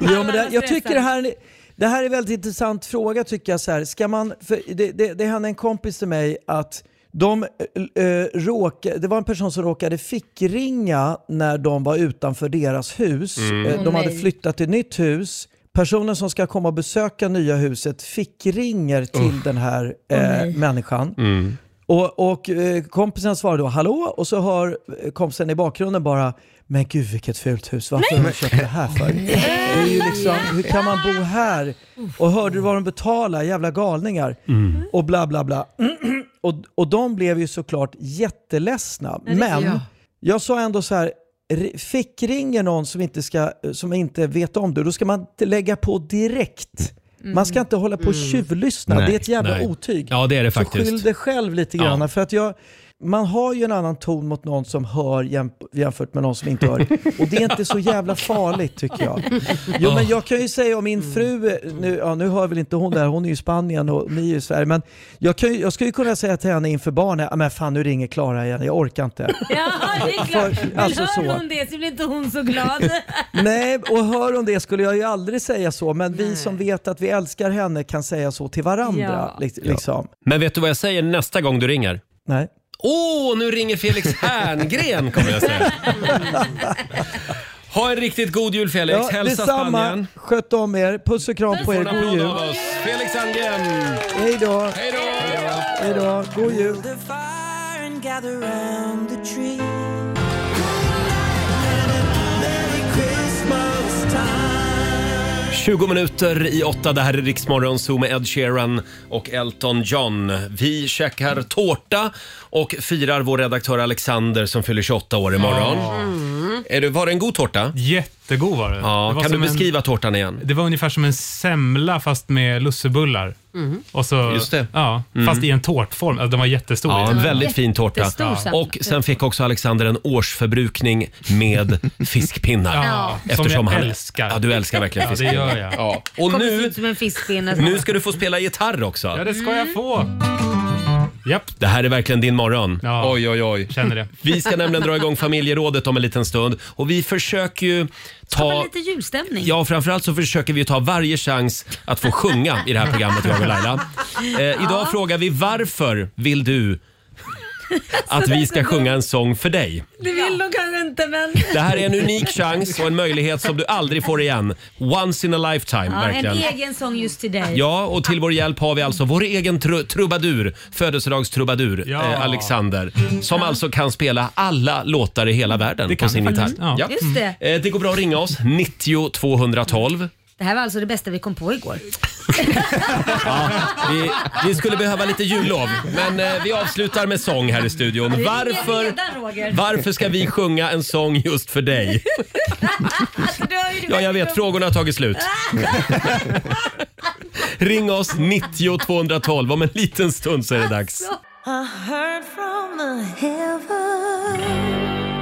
vi. jo, men det, jag tycker det här, det här är en väldigt intressant fråga tycker jag. Så här. Ska man, för det, det, det hände en kompis till mig att de, eh, råka, det var en person som råkade fickringa när de var utanför deras hus. Mm. Eh, de Åh, hade nej. flyttat till nytt hus. Personen som ska komma och besöka nya huset fickringer till den här eh, människan. Och, och eh, kompisen svarar då hallå och så hör eh, kompisen i bakgrunden bara men gud vilket fult hus, varför har de köpt det här för? Det är ju liksom, hur kan man bo här? Och hörde du vad de betalar, jävla galningar? Mm. Och bla bla bla. Och, och de blev ju såklart jätteledsna. Men ja. jag sa ändå så här, r- fick ringer någon som inte, ska, som inte vet om det, då ska man inte lägga på direkt. Man ska inte hålla på och tjuvlyssna, Nej, det är ett jävla Mm. nej. otyg. Ja, det är det Så skyll faktiskt. dig själv lite Ja. grann. För att jag, man har ju en annan ton mot någon som hör jämf- jämfört med någon som inte hör. Och det är inte så jävla farligt tycker jag. Jo men jag kan ju säga om min fru, nu, ja, nu hör väl inte hon där, hon är ju i Spanien och ni är ju i Sverige. Men jag, kan ju, jag skulle ju kunna säga till henne inför barnen, "Ah, men fan nu ringer Klara igen, jag orkar inte. Jaha, det är klart. För- Men alltså hör så. hon det så blir inte hon så glad. Nej, och hör om det skulle jag ju aldrig säga så. Men vi som vet att vi älskar henne kan säga så till varandra. Ja. li- Liksom. Men vet du vad jag säger nästa gång du ringer? Nej. Åh, nu ringer Felix Herngren kommer jag säga. Ha en riktigt god jul Felix. Ja, Hälsa detsamma, Spanien. sköt om er. Puss och kram på er, En god applåd jul. av oss. Felix Herngren. Hej då. Hej då! Hej då. God jul. Ja. 20 minuter i åtta. Det här är Riksmorgon Zoo med Ed Sheeran och Elton John. Vi käkar tårta och firar vår redaktör Alexander som fyller 28 år imorgon. Är det, var det en god tårta? Jättegod var det. det Ja, var kan du som beskriva tårtan igen? En, det var ungefär som en semla fast med lussebullar. Mm. Och så, Just det. Mm. Ja, Fast i en tårtform. Alltså, den var jättestor. Ja, en väldigt fin tårta. Jättestor semla. Och sen fick också Alexander en årsförbrukning med fiskpinnar. Ja, som jag älskar. Ja, du älskar verkligen Ja, det fiskpinnar. gör jag. Ja. Och Kommer se nu, ut som en fiskpinne. Mm. nu ska du få spela gitarr Ja, också. det ska jag få. Japp, Det här är verkligen din morgon. Ja. Oj, oj, oj. känner det. Vi ska nämligen dra igång familjerådet om en liten stund och vi försöker ju Skapa ta... lite julstämning. Ja, framförallt så försöker vi ta varje chans att få sjunga i det här programmet, jag och Laila. Eh, idag frågar vi varför vill du att vi ska sjunga en sång för dig? Det vill de kanske inte men... Det här är en unik chans och en möjlighet som du aldrig får igen. Once in a lifetime, Ja, en verkligen. egen sång just till dig. Ja, och till vår hjälp har vi alltså vår egen tru- trubadur, födelsedagstrubadur, Ja. eh, Alexander. Som alltså kan spela alla låtar i hela världen på sin han gitarr. Mm. faktiskt. Ja. Just det. Eh, Det går bra att ringa oss, 90 212. Det här var alltså det bästa vi kom på igår. Vi, vi skulle behöva lite jullov, men eh, vi avslutar med sång här i studion. Vi ringer Varför, redan, Roger. varför ska vi sjunga en sång just för dig? Alltså, du har ju- Ja, jag vet. Frågorna har tagit slut. Ring oss 90 212. Om en liten stund så är det dags. Alltså.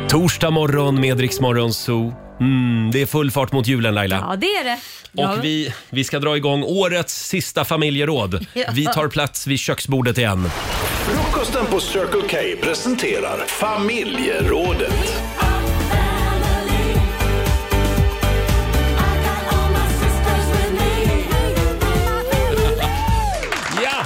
Torsdag morgon med Rix Morgon Zoo. Mm, det är full fart mot julen Laila. Ja, det är det. Ja. Och vi, vi ska dra igång årets sista familjeråd. Ja. Vi tar plats vid köksbordet igen. Frukosten på Circle K presenterar familjerådet. Ja!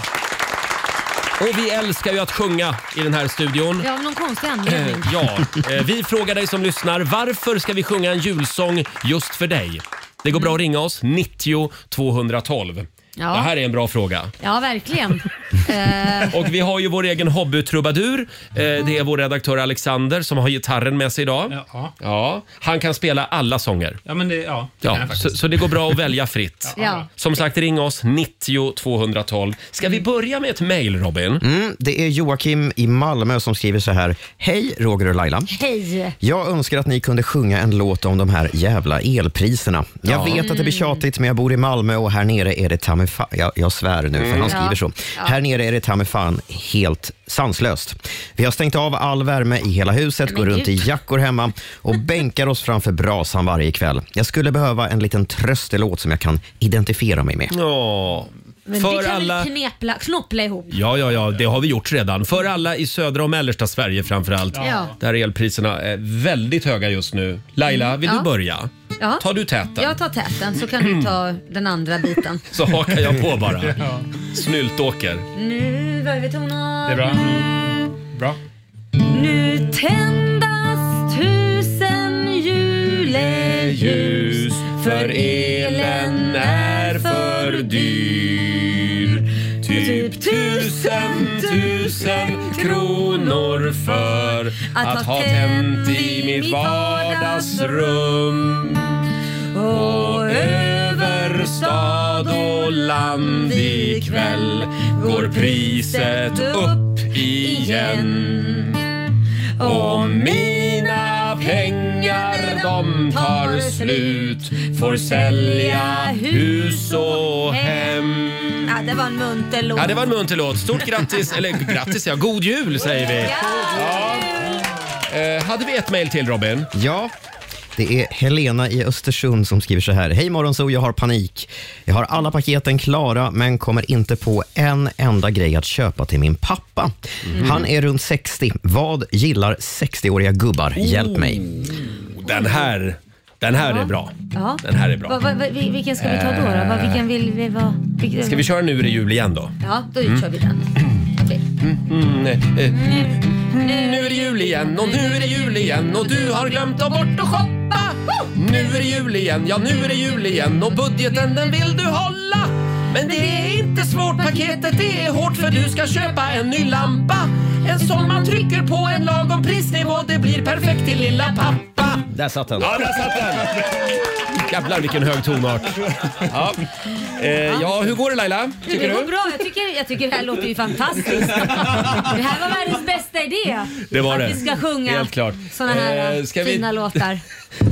Och vi älskar ju att sjunga i den här studion. Ja, av någon konstig anledning. Eh, Ja, eh, vi frågar dig som lyssnar, varför ska vi sjunga en julsång just för dig? Det går bra att ringa oss, 90 212. Ja. Det här är en bra fråga. Ja, verkligen. Eh, Och vi har ju vår egen hobbytrubadur. Eh, Det är vår redaktör Alexander som har gitarren med sig idag. Ja. Ja, han kan spela alla sånger. Ja, men det, ja, det kan Ja, jag så, faktiskt. så det går bra att välja fritt. ja. Som sagt, ring oss 90 212. Ska vi börja med ett mejl, Robin? Mm, det är Joakim i Malmö som skriver så här. Hej Roger och Laila. Hej. Jag önskar att ni kunde sjunga en låt om de här jävla elpriserna. Jag Ja. vet att det blir tjatigt, men jag bor i Malmö och här nere är det ta mig fan... Jag, jag svär nu, för han skriver Mm. Ja. så. Här nere är det ta mig fan helt sanslöst. Vi har stängt av all värme i hela huset, Men går runt i gud. jackor hemma och bänkar oss framför brasan varje kväll. Jag skulle behöva en liten tröstelåt som jag kan identifiera mig med. Ja, Men vi för kan alla... väl knepla, knoppla ihop? Ja, ja, ja, det har vi gjort redan. För alla i södra och mellersta Sverige framför allt. Ja. Där elpriserna är väldigt höga just nu. Laila, vill Mm. Ja. du börja? Ja. Tar du täten? Jag tar täten så kan du ta den andra biten. Så hakar jag på bara. Snyltåker. Nu rör vi tonen. Det är bra. Bra. Nu tändas tusen juleljus för elen är för dyr. Typ tusen, tusen kronor för att ha tänt i mitt vardagsrum. Och över stad och land ikväll går priset upp igen. Och mina pengar de tar slut får sälja hus och hem. Ja, det var en munter låt. Ja, det var en munter låt. Stort grattis, eller grattis ja, god jul säger vi. Eh, hade vi ett mejl till Robin? Ja. Det är Helena i Östersund som skriver så här. Hej Morgonzoo, jag har panik. Jag har alla paketen klara men kommer inte på en enda grej att köpa till min pappa. Mhm. Han är runt 60. Vad gillar 60-åriga gubbar? Hjälp mig. Oh, Den här, den här är bra. Ja. Den här är bra. Eh. Va, va, va, vil- vilken ska vi ta då? då? Va, vilken vill vi vara? Vilken... Ska vi köra Mm. nu är det jul igen då? Ja, då kör vi den. Okej. Mm, eh, eh. Nu är det jul igen och nu är det jul igen och du har glömt ta bort och shoppa. Nu är det jul igen, ja nu är det jul igen och budgeten den vill du hålla. Men det är inte svårt, paketet det är hårt för du ska köpa en ny lampa. En som man trycker på en lagom prisnivå, det blir perfekt till lilla pappa. Där satt den. Ja, där satt den! Jävlar vilken hög tonart. Ja. Eh, ja, hur går det Laila? Du, det går bra. Jag tycker, jag tycker det här låter ju fantastiskt. Det här var världens bästa idé. Det var att det. vi ska sjunga Helt klart. såna här Eh, ska vi- fina låtar.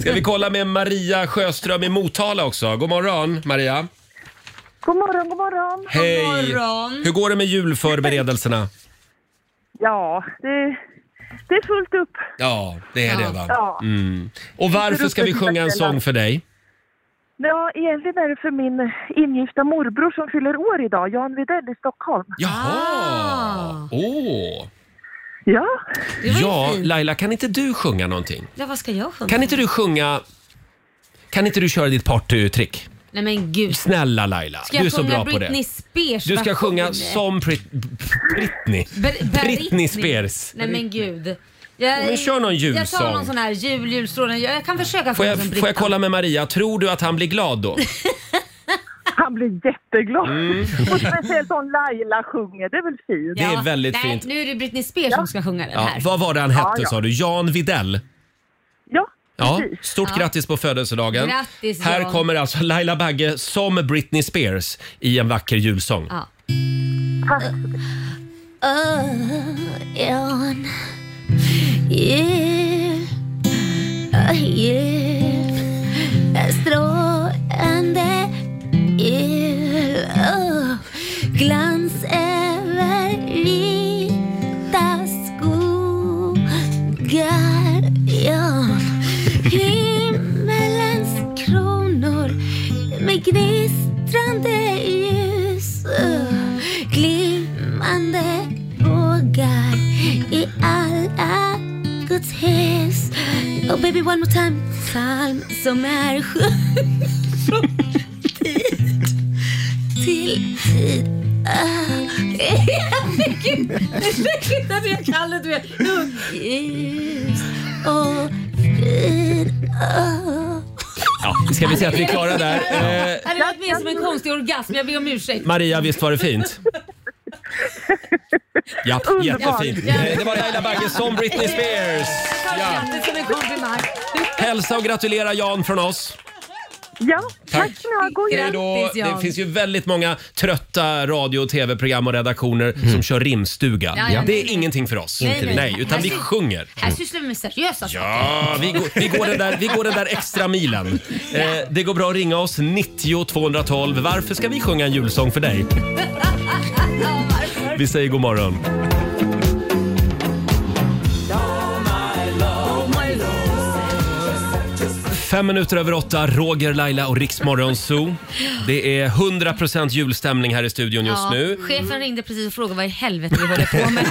Ska vi kolla med Maria Sjöström i Motala också? God morgon Maria. God morgon, god morgon. Hej! morgon. Hur går det med julförberedelserna? Ja, det, det är fullt upp. Ja, det är det va? Ja. Mm. Och varför ska vi sjunga en sång för dig? Ja, egentligen är det för min ingifta morbror som fyller år idag, Jan Widell i Stockholm. Jaha! Åh! Ja, Det var ju Ja, fint. Laila, kan inte du sjunga någonting? Ja, vad ska jag sjunga? Kan inte du sjunga... Kan inte du köra ditt partytrick? Nej men gud. Ska Snälla Laila, du jag är så sjunga bra på Britney det. Spears Du ska version? sjunga som Brit- Britney. Ber- Britney Spears. Nej men gud. Jag, Men kör någon Jag tar någon julsång. sån här jul, julstrålen. Jag, jag kan försöka Får sjunga jag, som får jag kolla med Maria, tror du att han blir glad då? Mm. han blir jätteglad. Och speciellt om Laila sjunger, det är väl fint? Det är väldigt Nej, fint. nu är det Britney Spears som ska sjunga den Ja, här. vad var det han hette Ja, ja. sa du? Jan Videll? Ja, Ja, precis. stort Ja. grattis på födelsedagen. Grattis, Här Jan. kommer alltså Laila Bagge som Britney Spears i en vacker julsång. Ja. Ögon ger ger strålande el Åh, glans över vita skogar Jan, himmelens kronor med gnistrande ljus Åh, glimmande bågar i alla Guds hus Oh baby one more time Psalm som är sjung från tid till tid Ah, Herregud, det är säkert att jag kan det du vet. Ljus och fin oh. Ja, ska vi se att vi klarar där. Eh, Det var mer som en konstig orgasm, jag ber om ursäkt. Maria, visst var det fint? Ja, Underbart. jättefint. Eh, Det var Laila Bagge som Britney Spears. Ja. Grattis som en komplimang. Hälsa och gratulera Jan från oss. Ja, Tack. tack ska ni ha. God Det, är då, det finns ju väldigt många trötta radio och tv-program och redaktioner som kör rimstuga. Ja, ja, det är men- ingenting för oss. Nej, nej. nej utan vi Här sy- sjunger. Här sysslar vi med seriösa saker. Ja, vi går, vi, går den där, vi går den där extra milen. Eh, det går bra att ringa oss, 90 212. Varför ska vi sjunga en julsång för dig? Vi säger god morgon. Fem minuter över åtta, Roger, Laila och Riksmorgon Zoo. Det är 100% julstämning här i studion just Ja, nu. Chefen ringde precis och frågade vad i helvete vi håller på med.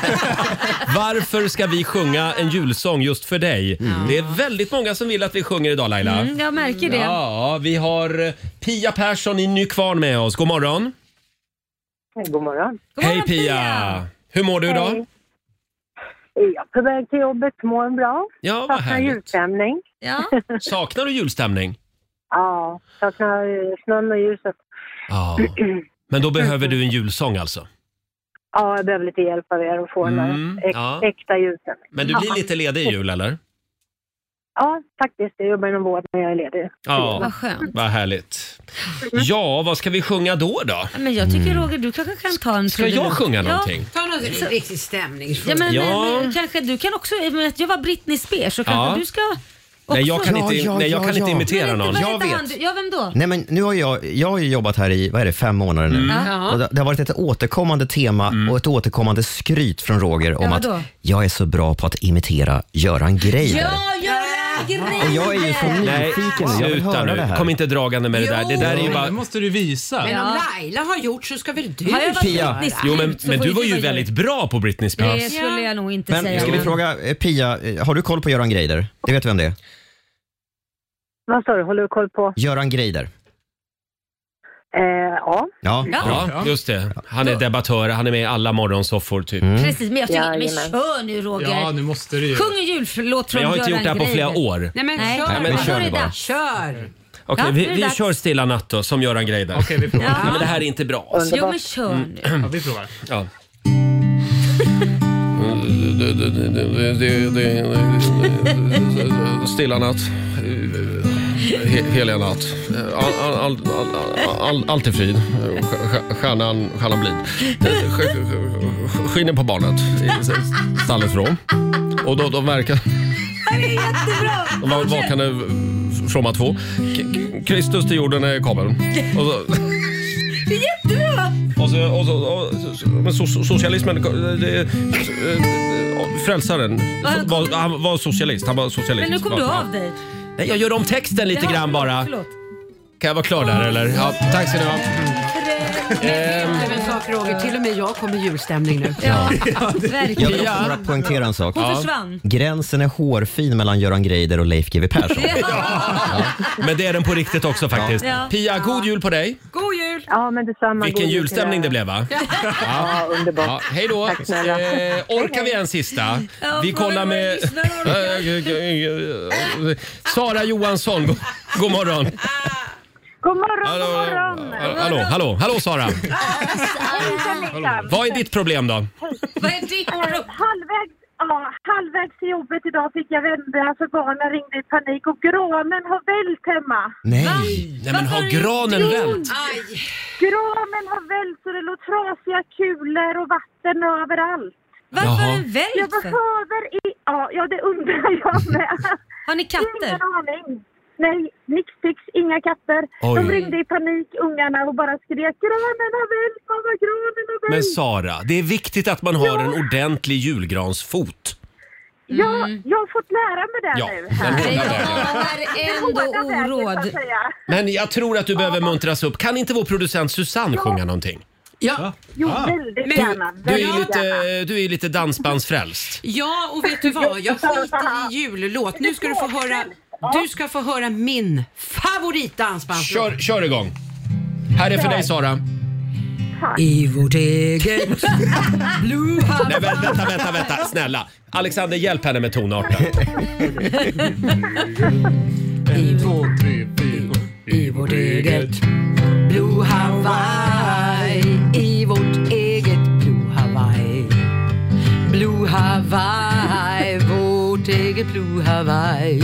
Varför ska vi sjunga en julsång just för dig? Det är väldigt många som vill att vi sjunger idag Laila. Mm, jag märker det. Ja, vi har eh, Pia Persson i Nykvarn med oss. God morgon. God morgon. Hej Pia. Hur mår du idag? Hej. Är jag på väg till jobbet? Mår bra? Ja, vad Saknar härligt. julstämning. Ja. Saknar du julstämning? ja, saknar eh, snön och ljuset. Ja. Men då behöver du en julsång alltså? Ja, jag behöver lite hjälp av er att få den Mm, där äk- ja. äkta julstämning. Men du blir Ja. lite ledig i jul eller? Ja, faktiskt. Jag jobbar inom vård när jag är ledig. Ja. Vad skönt. Vad härligt. Ja, vad ska vi sjunga då då? Men jag tycker Roger, du kanske kan ta en Ska jag trudelutt. sjunga någonting? Ja, ta någon Det är riktig stämning. Ja, men, Ja. men, men kanske, du kan också, i och med att jag var Britney Spears så kanske Ja. du ska också... Nej, jag kan inte, Ja, ja, nej, jag ja, kan inte ja. imitera Men någon. Vad Jag hette vet. han? Du- Ja, vem då? Nej, men nu har jag, jag har ju jobbat här i vad är det, fem månader nu. Mm. Ja. Mm. Och det, det har varit ett återkommande tema och ett återkommande skryt från Roger om Ja, att vadå? jag är så bra på att imitera Göran Greider. Ja, Göran Greider! Och jag är ju så nyfiken nu. Jag vill Sluta höra nu. det här. Kom inte dragande med det där. Det där är ju Jo, bara... det måste du visa. Men om Laila har gjort så ska väl du Har jag varit göra? Britney Spears Jo, men, så men får du var du ju vara väldigt bra på Britney Det Spears. skulle jag nog inte Men säga. ska vi fråga eh, Pia, eh, har du koll på Göran Greider? Det vet vem det är? Vad sa du? Håller du koll på? Göran Greider. Eh, ja. Ja. Ja, just det. Han är debattör, han är med i alla morgonsoffor typ. Precis, men jag tycker, men Jajamän. kör nu Roger. Ja, nu måste du ju. Sjung en julförlåt från Men jag har inte Göran gjort det här på Greider. flera år. Nej men Nej. kör, Nej, men bara. kör Nu är det bara. Kör! Okej, Ja, nu vi, är det vi dags. kör Stilla natt då, som Göran Greider. Okej, vi provar. Nej, men det här är inte bra. alltså. Jo men kör nu. Mm. Ja, vi provar. Ja. Stilla natt. He- Heliga natt. All, all, all, all, all, allt är frid. Stj- Stjärnan, stjärnan blid. Sk- Skiner på barnet. Stallet vrå. Och då, då verkar... Det är jättebra. De var vaknade fromma två. K- Kristus till jorden är kabeln. Och så... Det är jättebra. Och så, och så, och så, men so, so- socialismen... Det, eh, frälsaren so, var, han var socialist. Han var socialist. Men nu kom Ja, du ja. av dig. Nej, jag gör om texten lite Jaha, grann förlåt, bara. Förlåt. Kan jag vara klar där eller? Ja, tack ska ni ha. Men vet du en sak Roger, till och med jag kommer i julstämning nu. Ja, Jag verkligen. vill också bara poängtera en sak. Hon försvann. Gränsen är hårfin mellan Göran Greider och Leif GW Persson. Men det är den på riktigt också faktiskt. Ja. Pia, god jul på dig. God jul! Ja, men detsamma. Vilken God jul julstämning till det er. blev va? Ja, underbart. Ja, hej då. Tack snälla. Eh, orkar vi en sista? Ja, Vi frågan kollar var med... Eh, Sara Johansson, god, god morgon. God morgon, Hallå. god morgon! Hallå, hallå, hallå Sara. Hejsan, hejsan. Vad är ditt problem då? Vad är det? Eh, Halvvägs, ja, halvvägs till jobbet idag fick jag vända, alltså barnen ringde i panik och granen har vält hemma. Nej! Nej men har granen vänt? Granen har vält så det låg trasiga kulor och vatten överallt. Varför har Jaha. den vält Jag för? behöver... I, ja, ja, det undrar jag med. har ni katter? Ingen aning. Nej, nix fix, inga katter. Oj. De ringde i panik, ungarna, och bara skrek granen har vält, mamma granen har vält. Men Sara, det är viktigt att man har en ordentlig julgransfot. Ja, Mm. jag har fått lära mig det Ja, nu. den håller Jag där. anar ändå oråd. Men jag tror att du behöver muntras upp. Kan inte vår producent Susanne sjunga någonting? Ja. Jo, väldigt Men- gärna. Du är Väldigt ju lite, gärna. du är ju lite dansbandsfrälst. Ja, och vet du vad? Jag skiter i jullåt. Nu ska du få höra, du ska få höra min favoritdansbandslåt. Kör, kör igång! Här är för dig Sara. I vårt eget blue Nej, vä- vänta, vänta, vänta. Snälla. Alexander, hjälp henne med tonarten. En, två, tre, fyra. I vårt eget Blue Hawaii I vårt eget Blue Hawaii Blue Hawaii Vårt eget Blue Hawaii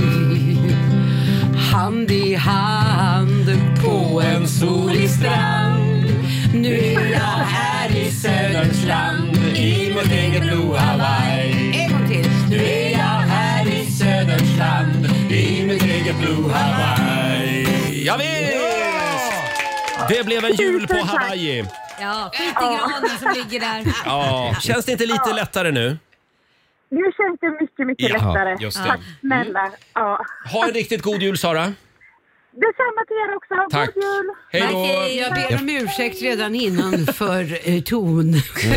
Hand i hand på en solig strand Nu är jag här i söderns land I vårt eget Blue Hawaii En gång till Nu är jag här i söderns land I mitt eget Blue Hawaii. Ja, Det blev en jul på Hawaii. Ja, skit i granen som ligger där. Ja. Känns det inte lite lättare nu? Nu känns det mycket, mycket Ja, lättare. just det. Tack snälla. Ja. Ha en riktigt god jul Sara. Detsamma till er också. Tack. God jul! Hej då. Okej, Jag ber om ursäkt redan innan för eh, ton. Mm.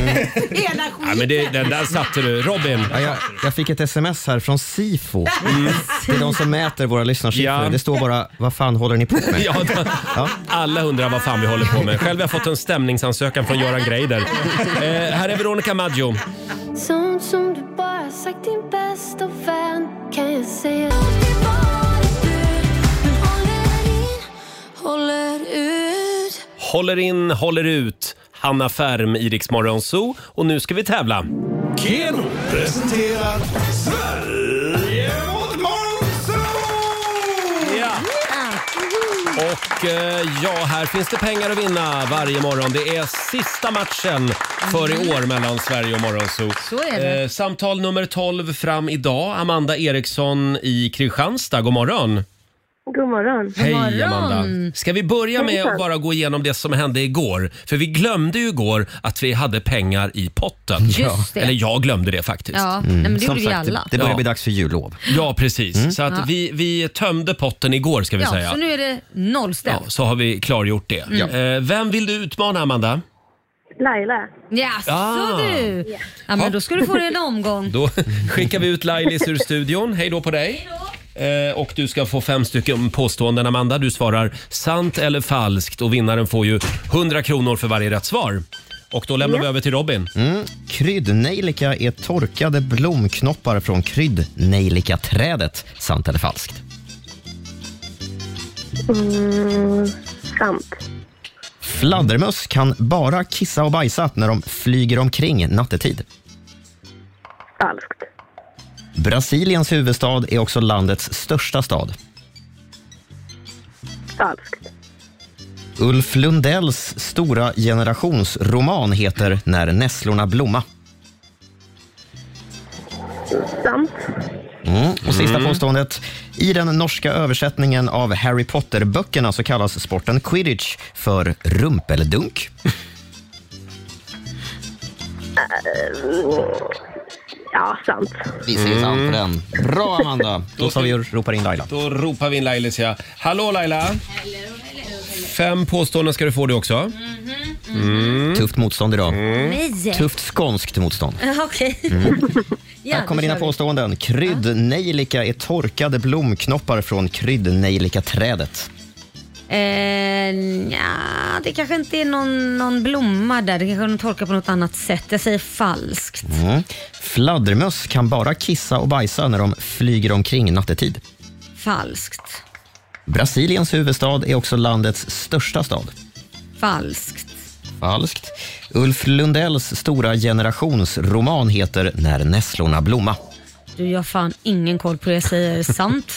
Hela skiten. Ja, men det, den där satte du. Robin. Ja, jag, jag fick ett sms här från SIFO. Mm. Det är de som mäter våra lyssnarsiffror. Ja. Det står bara, vad fan håller ni på med? Ja, det- Alla undrar vad fan vi håller på med. Själv har jag fått en stämningsansökan från Göran Greider. Eh, här är Veronica Maggio. Sånt som du bara sagt din bästa vän kan jag säga Håller ut Håller in, håller ut. Hanna Färm i Rix Morgon Zoo. Och nu ska vi tävla. Keno presenterar Sverige mot Morgonzoo! Ja. Och eh, ja, här finns det pengar att vinna varje morgon. Det är sista matchen för i år mellan Sverige och Morgonzoo. Så är det. Eh, samtal nummer 12 fram idag. Amanda Eriksson i Kristianstad. God morgon. God morgon. Hej Amanda. Ska vi börja med Hejsan. att bara gå igenom det som hände igår? För vi glömde ju igår att vi hade pengar i potten. Just det. Eller jag glömde det faktiskt. Mm. Ja, nej, men det gjorde vi alla. det börjar Ja. bli dags för jullov. Mm. Ja, precis. Så att Ja. vi, vi tömde potten igår ska vi ja, säga. Så nu är det nollställt. Ja, så har vi klargjort det. Mm. Eh, vem vill du utmana, Amanda? Laila. Jaså Ah. du! Ja, men då ska du få dig en omgång. Då skickar vi ut Lailis ur studion. Hej då på dig! Eh, och du ska få fem stycken påståenden, Amanda. Du svarar sant eller falskt och vinnaren får ju 100 kronor för varje rätt svar. Och då lämnar vi över till Robin. Mm. Kryddnejlika är torkade blomknoppar från kryddnejlikaträdet. Sant eller falskt? Mm, sant. Fladdermöss kan bara kissa och bajsa när de flyger omkring nattetid. Falskt. Brasiliens huvudstad är också landets största stad. Falskt. Ulf Lundells stora generationsroman heter När nässlorna blomma. Sant. Mm. Och sista Mm. påståendet. I den norska översättningen av Harry Potter-böckerna så kallas sporten quidditch för rumpeldunk. Eh, Ja, sant. Vi säger sant på den. Bra, Amanda. Då tar vi och ropar in Laila. Då ropar vi in Lailis, ja. Hallå Laila! Fem påståenden ska du få det också. Mm. Tufft motstånd idag. Nej. Tufft skånskt motstånd. Ja, Okej. Mm. Ja, Här kommer då dina kör vi. påståenden. Kryddnejlika är torkade blomknoppar från kryddnejlikaträdet. Eh, nja, det kanske inte är någon, någon blomma där. Det kanske de tolkar på något annat sätt. Jag säger falskt. Mm. Fladdermöss kan bara kissa och bajsa när de flyger omkring nattetid. Falskt. Brasiliens huvudstad är också landets största stad. Falskt. Falskt. Ulf Lundells stora generationsroman heter När nässlorna blomma. Du, jag har fan ingen koll på det jag säger. Sant?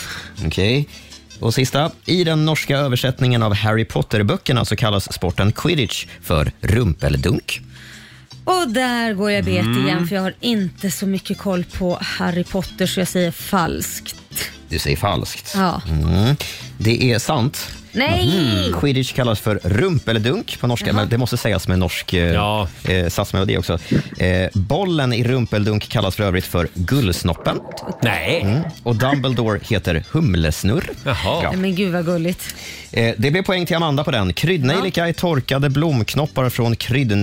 Okej. Och sista. I den norska översättningen av Harry Potter-böckerna så kallas sporten quidditch för rumpeldunk. Och där går jag bet Mm. igen för jag har inte så mycket koll på Harry Potter så jag säger falskt. Du säger falskt. Ja. Mm. Det är sant. Nej! Mhm. Quidditch kallas för rumpeldunk på norska, men det måste sägas med norsk eh, eh, satsmelodi också. Eh, bollen i rumpeldunk kallas för övrigt för gullsnoppen. Nej. Mm. Och Dumbledore heter humlesnurr. Ja. Nej, Eh, Men gud vad gulligt. Eh, Det blir poäng till Amanda på den. Kryddnejlika är torkade blomknoppar från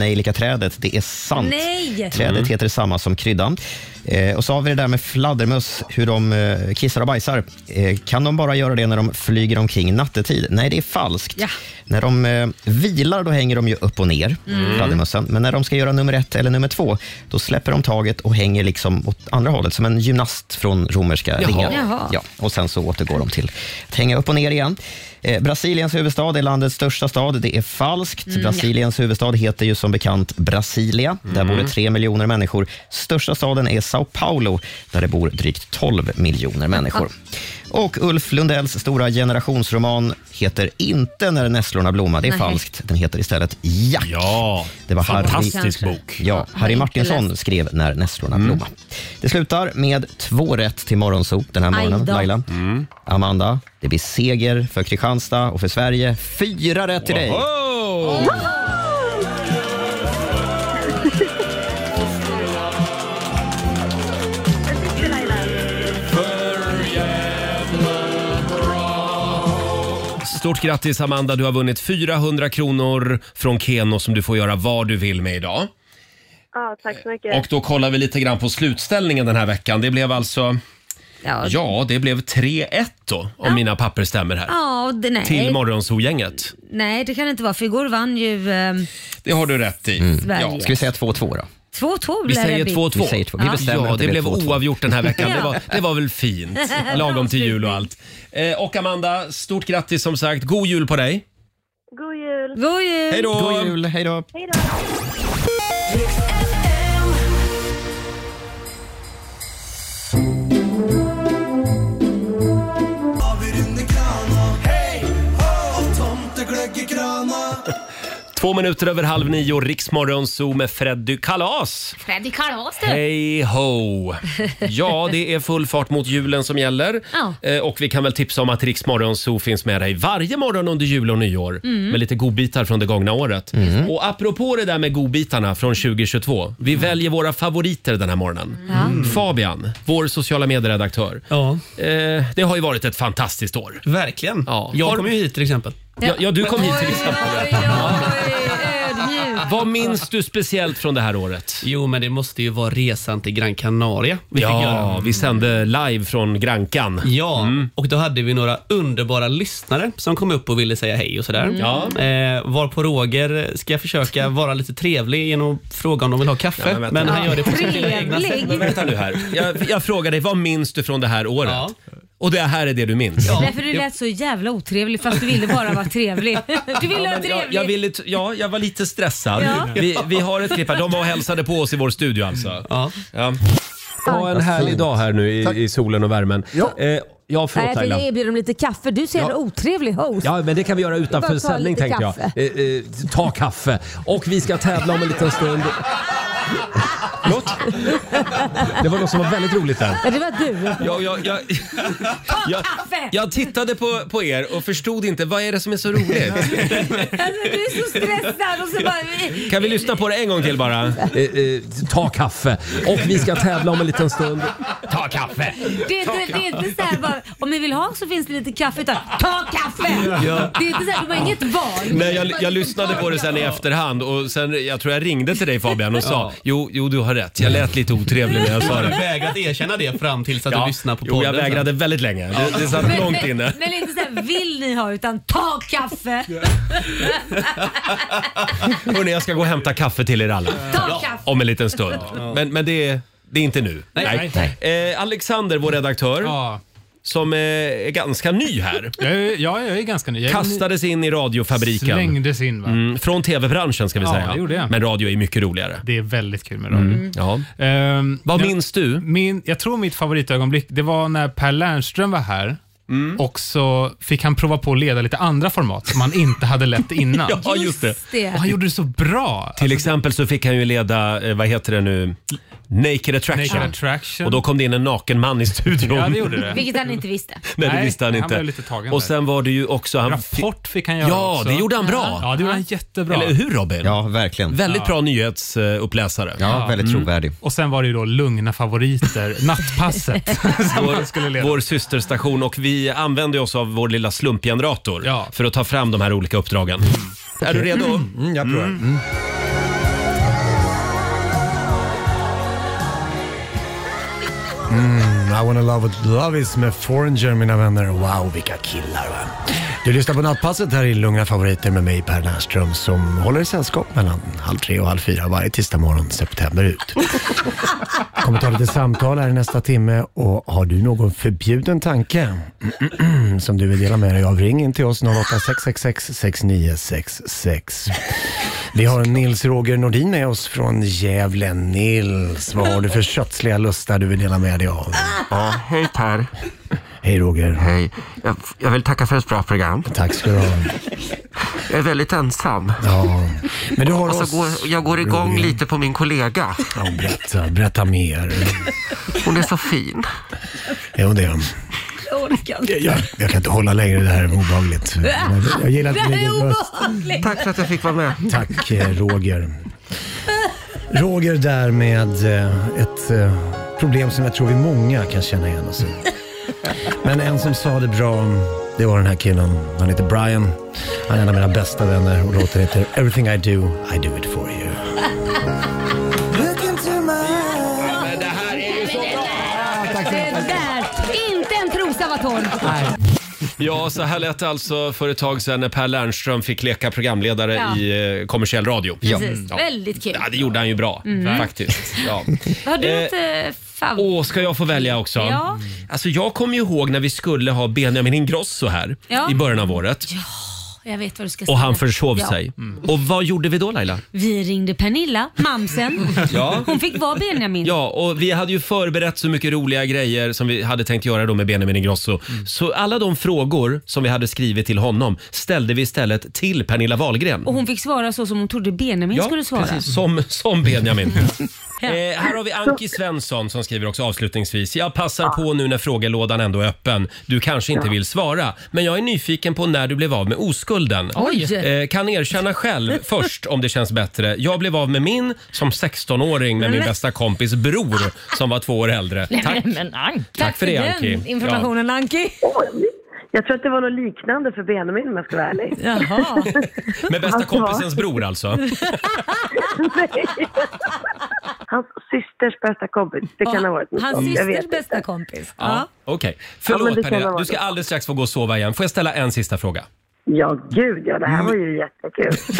kryddnejlikaträdet. Det är sant. Nej! Trädet Mm. heter samma som kryddan. Eh, och så har vi det där med fladdermöss, hur de eh, kissar och bajsar. Eh, kan de bara göra det när de flyger omkring nattetid? Nej, det är falskt. Ja. När de eh, vilar då hänger de ju upp och ner, Mm. fladdermössen. Men när de ska göra nummer ett eller nummer två, då släpper de taget och hänger liksom åt andra hållet, som en gymnast från romerska Jaha. ringar. Jaha. Ja, och sen så återgår de till att hänga upp och ner igen. Eh, Brasiliens huvudstad är landets största stad. Det är falskt. Mm. Brasiliens huvudstad heter ju som bekant Brasilia. Där Mm. bor det tre miljoner människor. Största staden är Sao Paulo, där det bor drygt 12 miljoner människor. Och Ulf Lundells stora generationsroman heter inte När nässlorna blomma. Det är Nej. falskt. Den heter istället Jack. Ja, det var fantastisk Harry, bok. Mm. Ja, Harry inte Martinsson läst. skrev När nässlorna blomma. Det slutar med två rätt till Morgonzoo den här Aj morgonen, då. Laila. Mm. Amanda, det blir seger för Kristianstad och för Sverige. Fyra rätt till dig! Stort grattis Amanda, du har vunnit 400 kronor från Keno som du får göra vad du vill med idag. Ja, tack så mycket. Och då kollar vi lite grann på slutställningen den här veckan. Det blev alltså... Ja, det blev 3-1 då, om mina papper stämmer här. Ja, och det, nej. Till Morgonzoo-gänget. Nej, det kan det inte vara för igår vann ju ehm, Det har du rätt i. Mm. Sverige. Ja. Ska vi säga 2-2 då? 2-2 Vi blev säger det. 2-2. Vi säger två. Vi bestämmer ja, att det det blev blev 2-2. oavgjort den här veckan. Det var, det var väl fint? Ja. Lagom till jul och allt. Eh, och Amanda, stort grattis som sagt. God jul på dig. God jul! God jul! Hej då! God jul, hej då! Hej då! Två minuter över halv nio, Riksmorgon Zoo med Freddy Kalas. Freddy Kalas du. Hej ho! Ja, det är full fart mot julen som gäller. Ja. Eh, Och vi kan väl tipsa om att Riksmorgon Zoo finns med dig varje morgon under jul och nyår Mm. med lite godbitar från det gångna året. Mm. Och apropå det där med godbitarna från 2022. Vi väljer våra favoriter den här morgonen. Mm. Ja. Mm. Fabian, vår sociala medieredaktör. Ja. Eh, det har ju varit ett fantastiskt år. Verkligen. Ja. Jag Har- kom ju hit till exempel. Ja, ja, du kom hit till exempel. Ödmjuk. Vad minns du speciellt från det här året? Jo, men det måste ju vara resan till Gran Canaria. Ja, vi Mm. sände live från Grankan. Ja, och då hade vi några underbara lyssnare som kom upp och ville säga hej och sådär. Mm. Ja. Eh, var på Roger ska försöka vara lite trevlig genom att fråga om de vill ha kaffe, Ja, men, vänta. han gör det på sitt egna sätt. Men vänta nu här. Jag, jag frågar dig, vad minns du från det här året? Och det här är det du minns? Därför du lät så jävla otrevlig fast du ville bara vara trevlig. Du ville vara men jag, trevlig. jag ville, t- ja, jag var lite stressad. Ja. Vi, vi har ett klipp här. De var och hälsade på oss i vår studio alltså. Ja. Ha en härlig dag här nu i, i solen och värmen. Ja, eh, ja Nej, förlåt jag Laila. tänkte erbjuda dem lite kaffe. Du ser Ja. en otrevlig host. Ja, men det kan vi göra Bara utanför ta sändning lite tänkte jag. kaffe. Eh, eh, ta kaffe. Och vi ska tävla om en liten stund. Förlåt? Det var något som var väldigt roligt där. Ja, det var du. Jag, jag, jag, jag, jag tittade på, på er och förstod inte vad är det som är så roligt. Alltså, du är så stressad och så bara... Kan vi lyssna på det en gång till bara? Eh, ta kaffe. Och vi ska tävla om en liten stund. Ta kaffe. Det är, inte, det är inte så här bara, om ni vill ha så finns det lite kaffe. Ta, ta kaffe! Ja. Det är inte så här, de har inget val. Nej, jag, jag lyssnade på det sen i efterhand och sen, jag tror jag ringde till dig Fabian och sa Ja. jo, jo du har rätt, jag lät lite otrevlig när jag sa Du har det. vägrat erkänna det fram tills att Ja. du lyssnar på podden. Jo, jag vägrade väldigt länge. Det, det satt långt inne. Men, men inte så här, vill ni ha utan ta kaffe. Hörrni, jag ska gå och hämta kaffe till er alla. Ta kaffe. Om en liten stund. Men, men det, är- det är inte nu. Nej, Eh, Alexander, vår redaktör. som eh, är ganska ny här. Jag är, ja, jag är ganska ny. Jag är Kastades in i radiofabriken. Slängdes in, va? Mm, från tv-branschen ska vi Ja, säga. det gjorde jag. Men radio är mycket roligare. Det är väldigt kul med radio. Mm. Ja. Ehm, Vad jag- minns du? Min, jag tror mitt favoritögonblick det var när Per Lernström var här Mm. och så fick han prova på att leda lite andra format som han inte hade lett innan. Ja, just det. Just det. Och han gjorde det så bra. Till exempel så fick han ju leda, eh, vad heter det nu, Naked Attraction. Naked Attraction. Och då kom det in en naken man i studion. Ja, det gjorde det. Vilket han inte visste. Nej, det visste han han inte. blev lite tagen och där. sen var det ju också... Han Rapport fick han göra Ja, också. det gjorde han bra. Ja, det gjorde han jättebra. Eller hur Robin? Ja, verkligen. Väldigt Ja. bra nyhetsuppläsare. Mm. Ja, väldigt trovärdig. Och sen var det ju då Lugna favoriter, Nattpasset. Vår, vår systerstation och vi använder oss av vår lilla slumpgenerator för att ta fram de här olika uppdragen. Är du redo? Mm, mm, jag provar. Mm. Mm, I wanna love what love is med Foreigner mina vänner. Wow, vilka killar va. Du lyssnar på Nattpasset här i Lugna favoriter med mig Per Lernström som håller i sällskap mellan halv tre och halv fyra varje tisdag morgon september ut. Kommer ta lite samtal här i nästa timme och har du någon förbjuden tanke som du vill dela med dig av ring in till oss 08 666 6966. Vi har Nils Roger Nordin med oss från Gävle. Nils, vad har du för kötsliga lustar du vill dela med dig av? Ja, hej Per. Hej Roger. Hej. Jag, jag vill tacka för ett bra program. Tack ska du ha. Jag är väldigt ensam. Ja, men du har och så oss, går, jag går igång Roger. lite på min kollega. Ja, berätta, berätta mer. Hon är så fin. Jo, det är de. Jag orkar Jag, jag kan inte hålla längre, det här är obehagligt. Jag, jag gillar inte din egen röst. Tack för att jag fick vara med. Tack eh, Roger. Roger där med eh, ett eh, problem som jag tror vi många kan känna igen oss i. Men en som sa det bra, det var den här killen. Han heter Brian. Han är en av mina bästa vänner och låten heter Everything I Do, I Do It For You. Men det här är ju så bra! Det där! Inte en trosa var torr. Ja, så här lät det alltså för ett tag sedan när Per Lernström fick leka programledare Ja. i eh, kommersiell radio. Precis. Ja. Väldigt kul. Ja, det gjorde han ju bra Mm. faktiskt. Ja. Har du Eh, något eh, favorit? Åh, ska jag få välja också? Ja. Alltså, jag kommer ju ihåg när vi skulle ha Benjamin Ingrosso här Ja. i början av året. Jag vet vad du ska säga. Och han försov Ja. sig. Och vad gjorde vi då Laila? Vi ringde Pernilla, mamsen. Ja. Hon fick vara Benjamin. Ja, och vi hade ju förberett så mycket roliga grejer som vi hade tänkt göra då med Benjamin Ingrosso. Mm. Så alla de frågor som vi hade skrivit till honom ställde vi istället till Pernilla Wahlgren. Och hon fick svara så som hon trodde Benjamin skulle svara. precis. Som, som Benjamin. eh, här har vi Anki Svensson som skriver också avslutningsvis. Jag passar på nu när frågelådan ändå är öppen. Du kanske inte vill svara, men jag är nyfiken på när du blev av med oskulden. Oj. Eh, kan erkänna själv först om det känns bättre. Jag blev av med min som 16-åring med min Men- bästa kompis bror som var två år äldre. Nej, Tack. men Anki. Tack för det, Anki. den informationen Anki. Jag tror att det var något liknande för Benjamin om jag ska vara ärlig. Jaha. Med bästa Hans var- kompisens bror alltså. Nej. Hans systers bästa kompis. Det kan ha varit något Hans sånt, jag vet systers inte. bästa kompis. Ja. Okej. Ja, men Förlåt det kan Pernilla, vara du ska det. alldeles strax få gå och sova igen. Får jag ställa en sista fråga? Ja, gud ja. Det Mm. här var ju jättekul.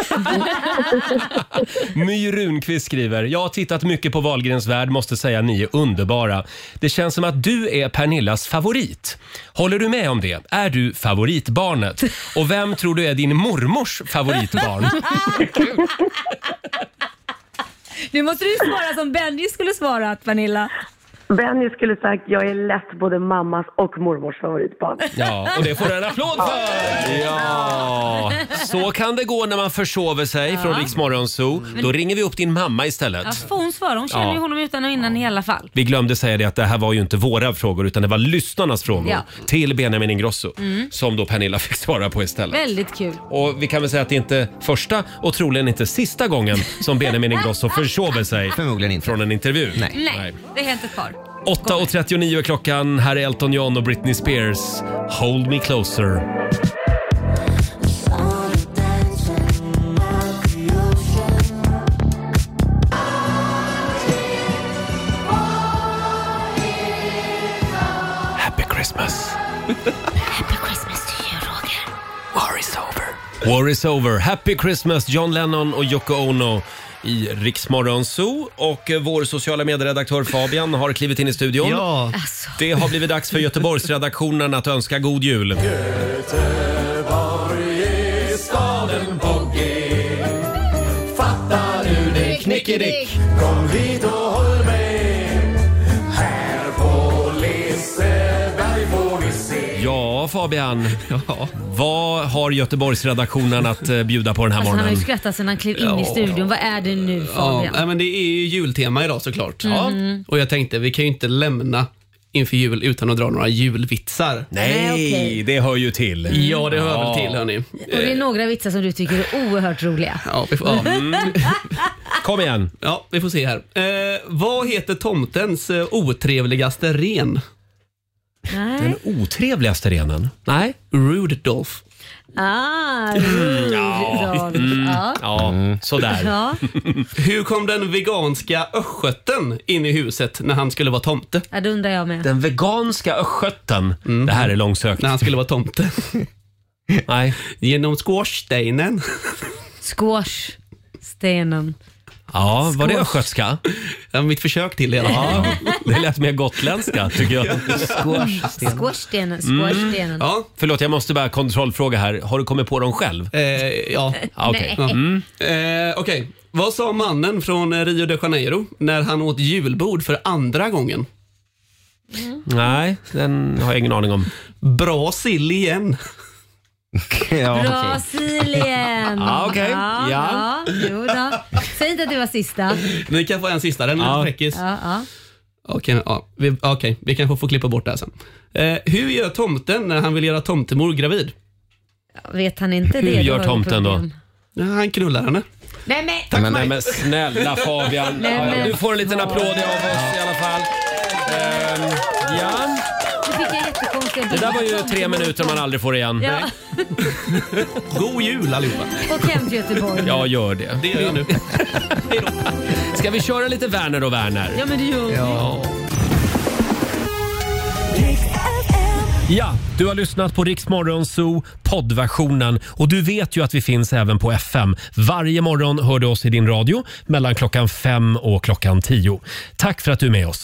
My Runqvist skriver, jag har tittat mycket på Wahlgrens värld, måste säga ni är underbara. Det känns som att du är Pernillas favorit. Håller du med om det? Är du favoritbarnet? Och vem tror du är din mormors favoritbarn? Nu måste du svara som Benji skulle svara att Vanilla. Benny skulle sagt jag är lätt både mammas och mormors favoritbarn. Ja, och det får du en applåd för! Ja, så kan det gå när man försover sig från Rix Morgon Zoo. Då ringer vi upp din mamma Ja, istället. får hon svara? Hon känner ju Ja. honom utan och innan i alla fall. Vi glömde säga det att det här var ju inte våra frågor utan det var lyssnarnas frågor Ja. till Benjamin Ingrosso Mm. som då Pernilla fick svara på istället. Väldigt kul. Och vi kan väl säga att det är inte första och troligen inte sista gången som Benjamin Ingrosso försover sig Förmodligen inte. från en intervju. Nej, det är helt ett par. 8.39 är klockan. Här är Elton John och Britney Spears. Hold me closer. Happy Christmas. Happy Christmas to you Roger. War is over. War is over. Happy Christmas John Lennon och Yoko Ono. i Riksmorgon Zoo och eh, vår sociala medieredaktör Fabian har klivit in i studion. Ja. Det har blivit dags för Göteborgsredaktionen att önska god jul. Göteborg är staden på G. Fatta nu det knickedick. Kom hit och håll med. Här på Mm. Liseberg Alltså, får ni se. Ja, Fabian. Vad har Göteborgsredaktionen att eh, bjuda på den här Alltså, han har morgonen? ju skrattat sedan han klev in i Ja. studion. Vad är det nu Ja, eh, Fabian? nej, men det är ju jultema idag såklart. Ja. Mhm. Och jag tänkte, vi kan ju inte lämna inför jul utan att dra några julvitsar. Nej, Nej, okej. det hör ju till. Ja, det hör Ja. Eh, väl till hörni. Och det är några vitsar som du tycker är oerhört roliga. Ja, vi får, Mm. ja. Kom igen. Ja, vi får se här. Eh, vad heter tomtens eh, otrevligaste ren? Nej. otrevligaste renen? Nej, Rudolph. Ah, Mm, Rudolf. Ja. Mm, Ja, sådär. Ja. Hur kom den veganska östgöten in i huset när han skulle vara tomte? Mm. Ja, det undrar jag med. Den veganska östgöten. Det här är långsökt. När han skulle vara tomte. Nej. Genom skorstenen. Squash. Stenen. Ja, var det Squash. östgötska? Ja, mitt försök till det i alla Ja, fall. det lät mer gotländska tycker jag. Squashstenen. Squashstenen. Mm. Squashstenen. Ja. Förlåt, jag måste bara kontrollfråga här. Har du kommit på dem själv? Eh, ja. Ja, okej. Ja. Nej. Mm. Eh, okej. Vad sa mannen från eh, Rio de Janeiro när han åt julbord för andra gången? Mm. Nej, den har jag ingen aning om. Bra sill igen. Brasilien. Ja, okej. Ja, ja. Ja. Jo då. Säg inte att det var sista. Ni kan få en sista, den är Ja. lite fräckis. Ja, ja. Okej, ja, vi, okej, vi kanske får klippa bort det här sen. Eh, hur gör tomten när han vill göra tomtemor gravid? Vet han inte det? då har vi problem. Ja, han knullar henne. Nej Nej, men. men, nej, men snälla Fabian. Nej, Ja, ja, men- du får en liten applåd av oss i alla fall. Ehm, ja, Nu fick jag jättekonstiga det där var bilder. ju tre minuter man aldrig får igen. Ja, God jul allihopa! och hem till Göteborg. Ja, gör det. Det gör jag nu. Ska vi köra lite Werner och Werner? Ja, men det gör vi. Ja. Ja, du har lyssnat på Rix Morgon Zoo poddversionen och du vet ju att vi finns även på FM. Varje morgon hör du oss i din radio mellan klockan fem och klockan tio. Tack för att du är med oss.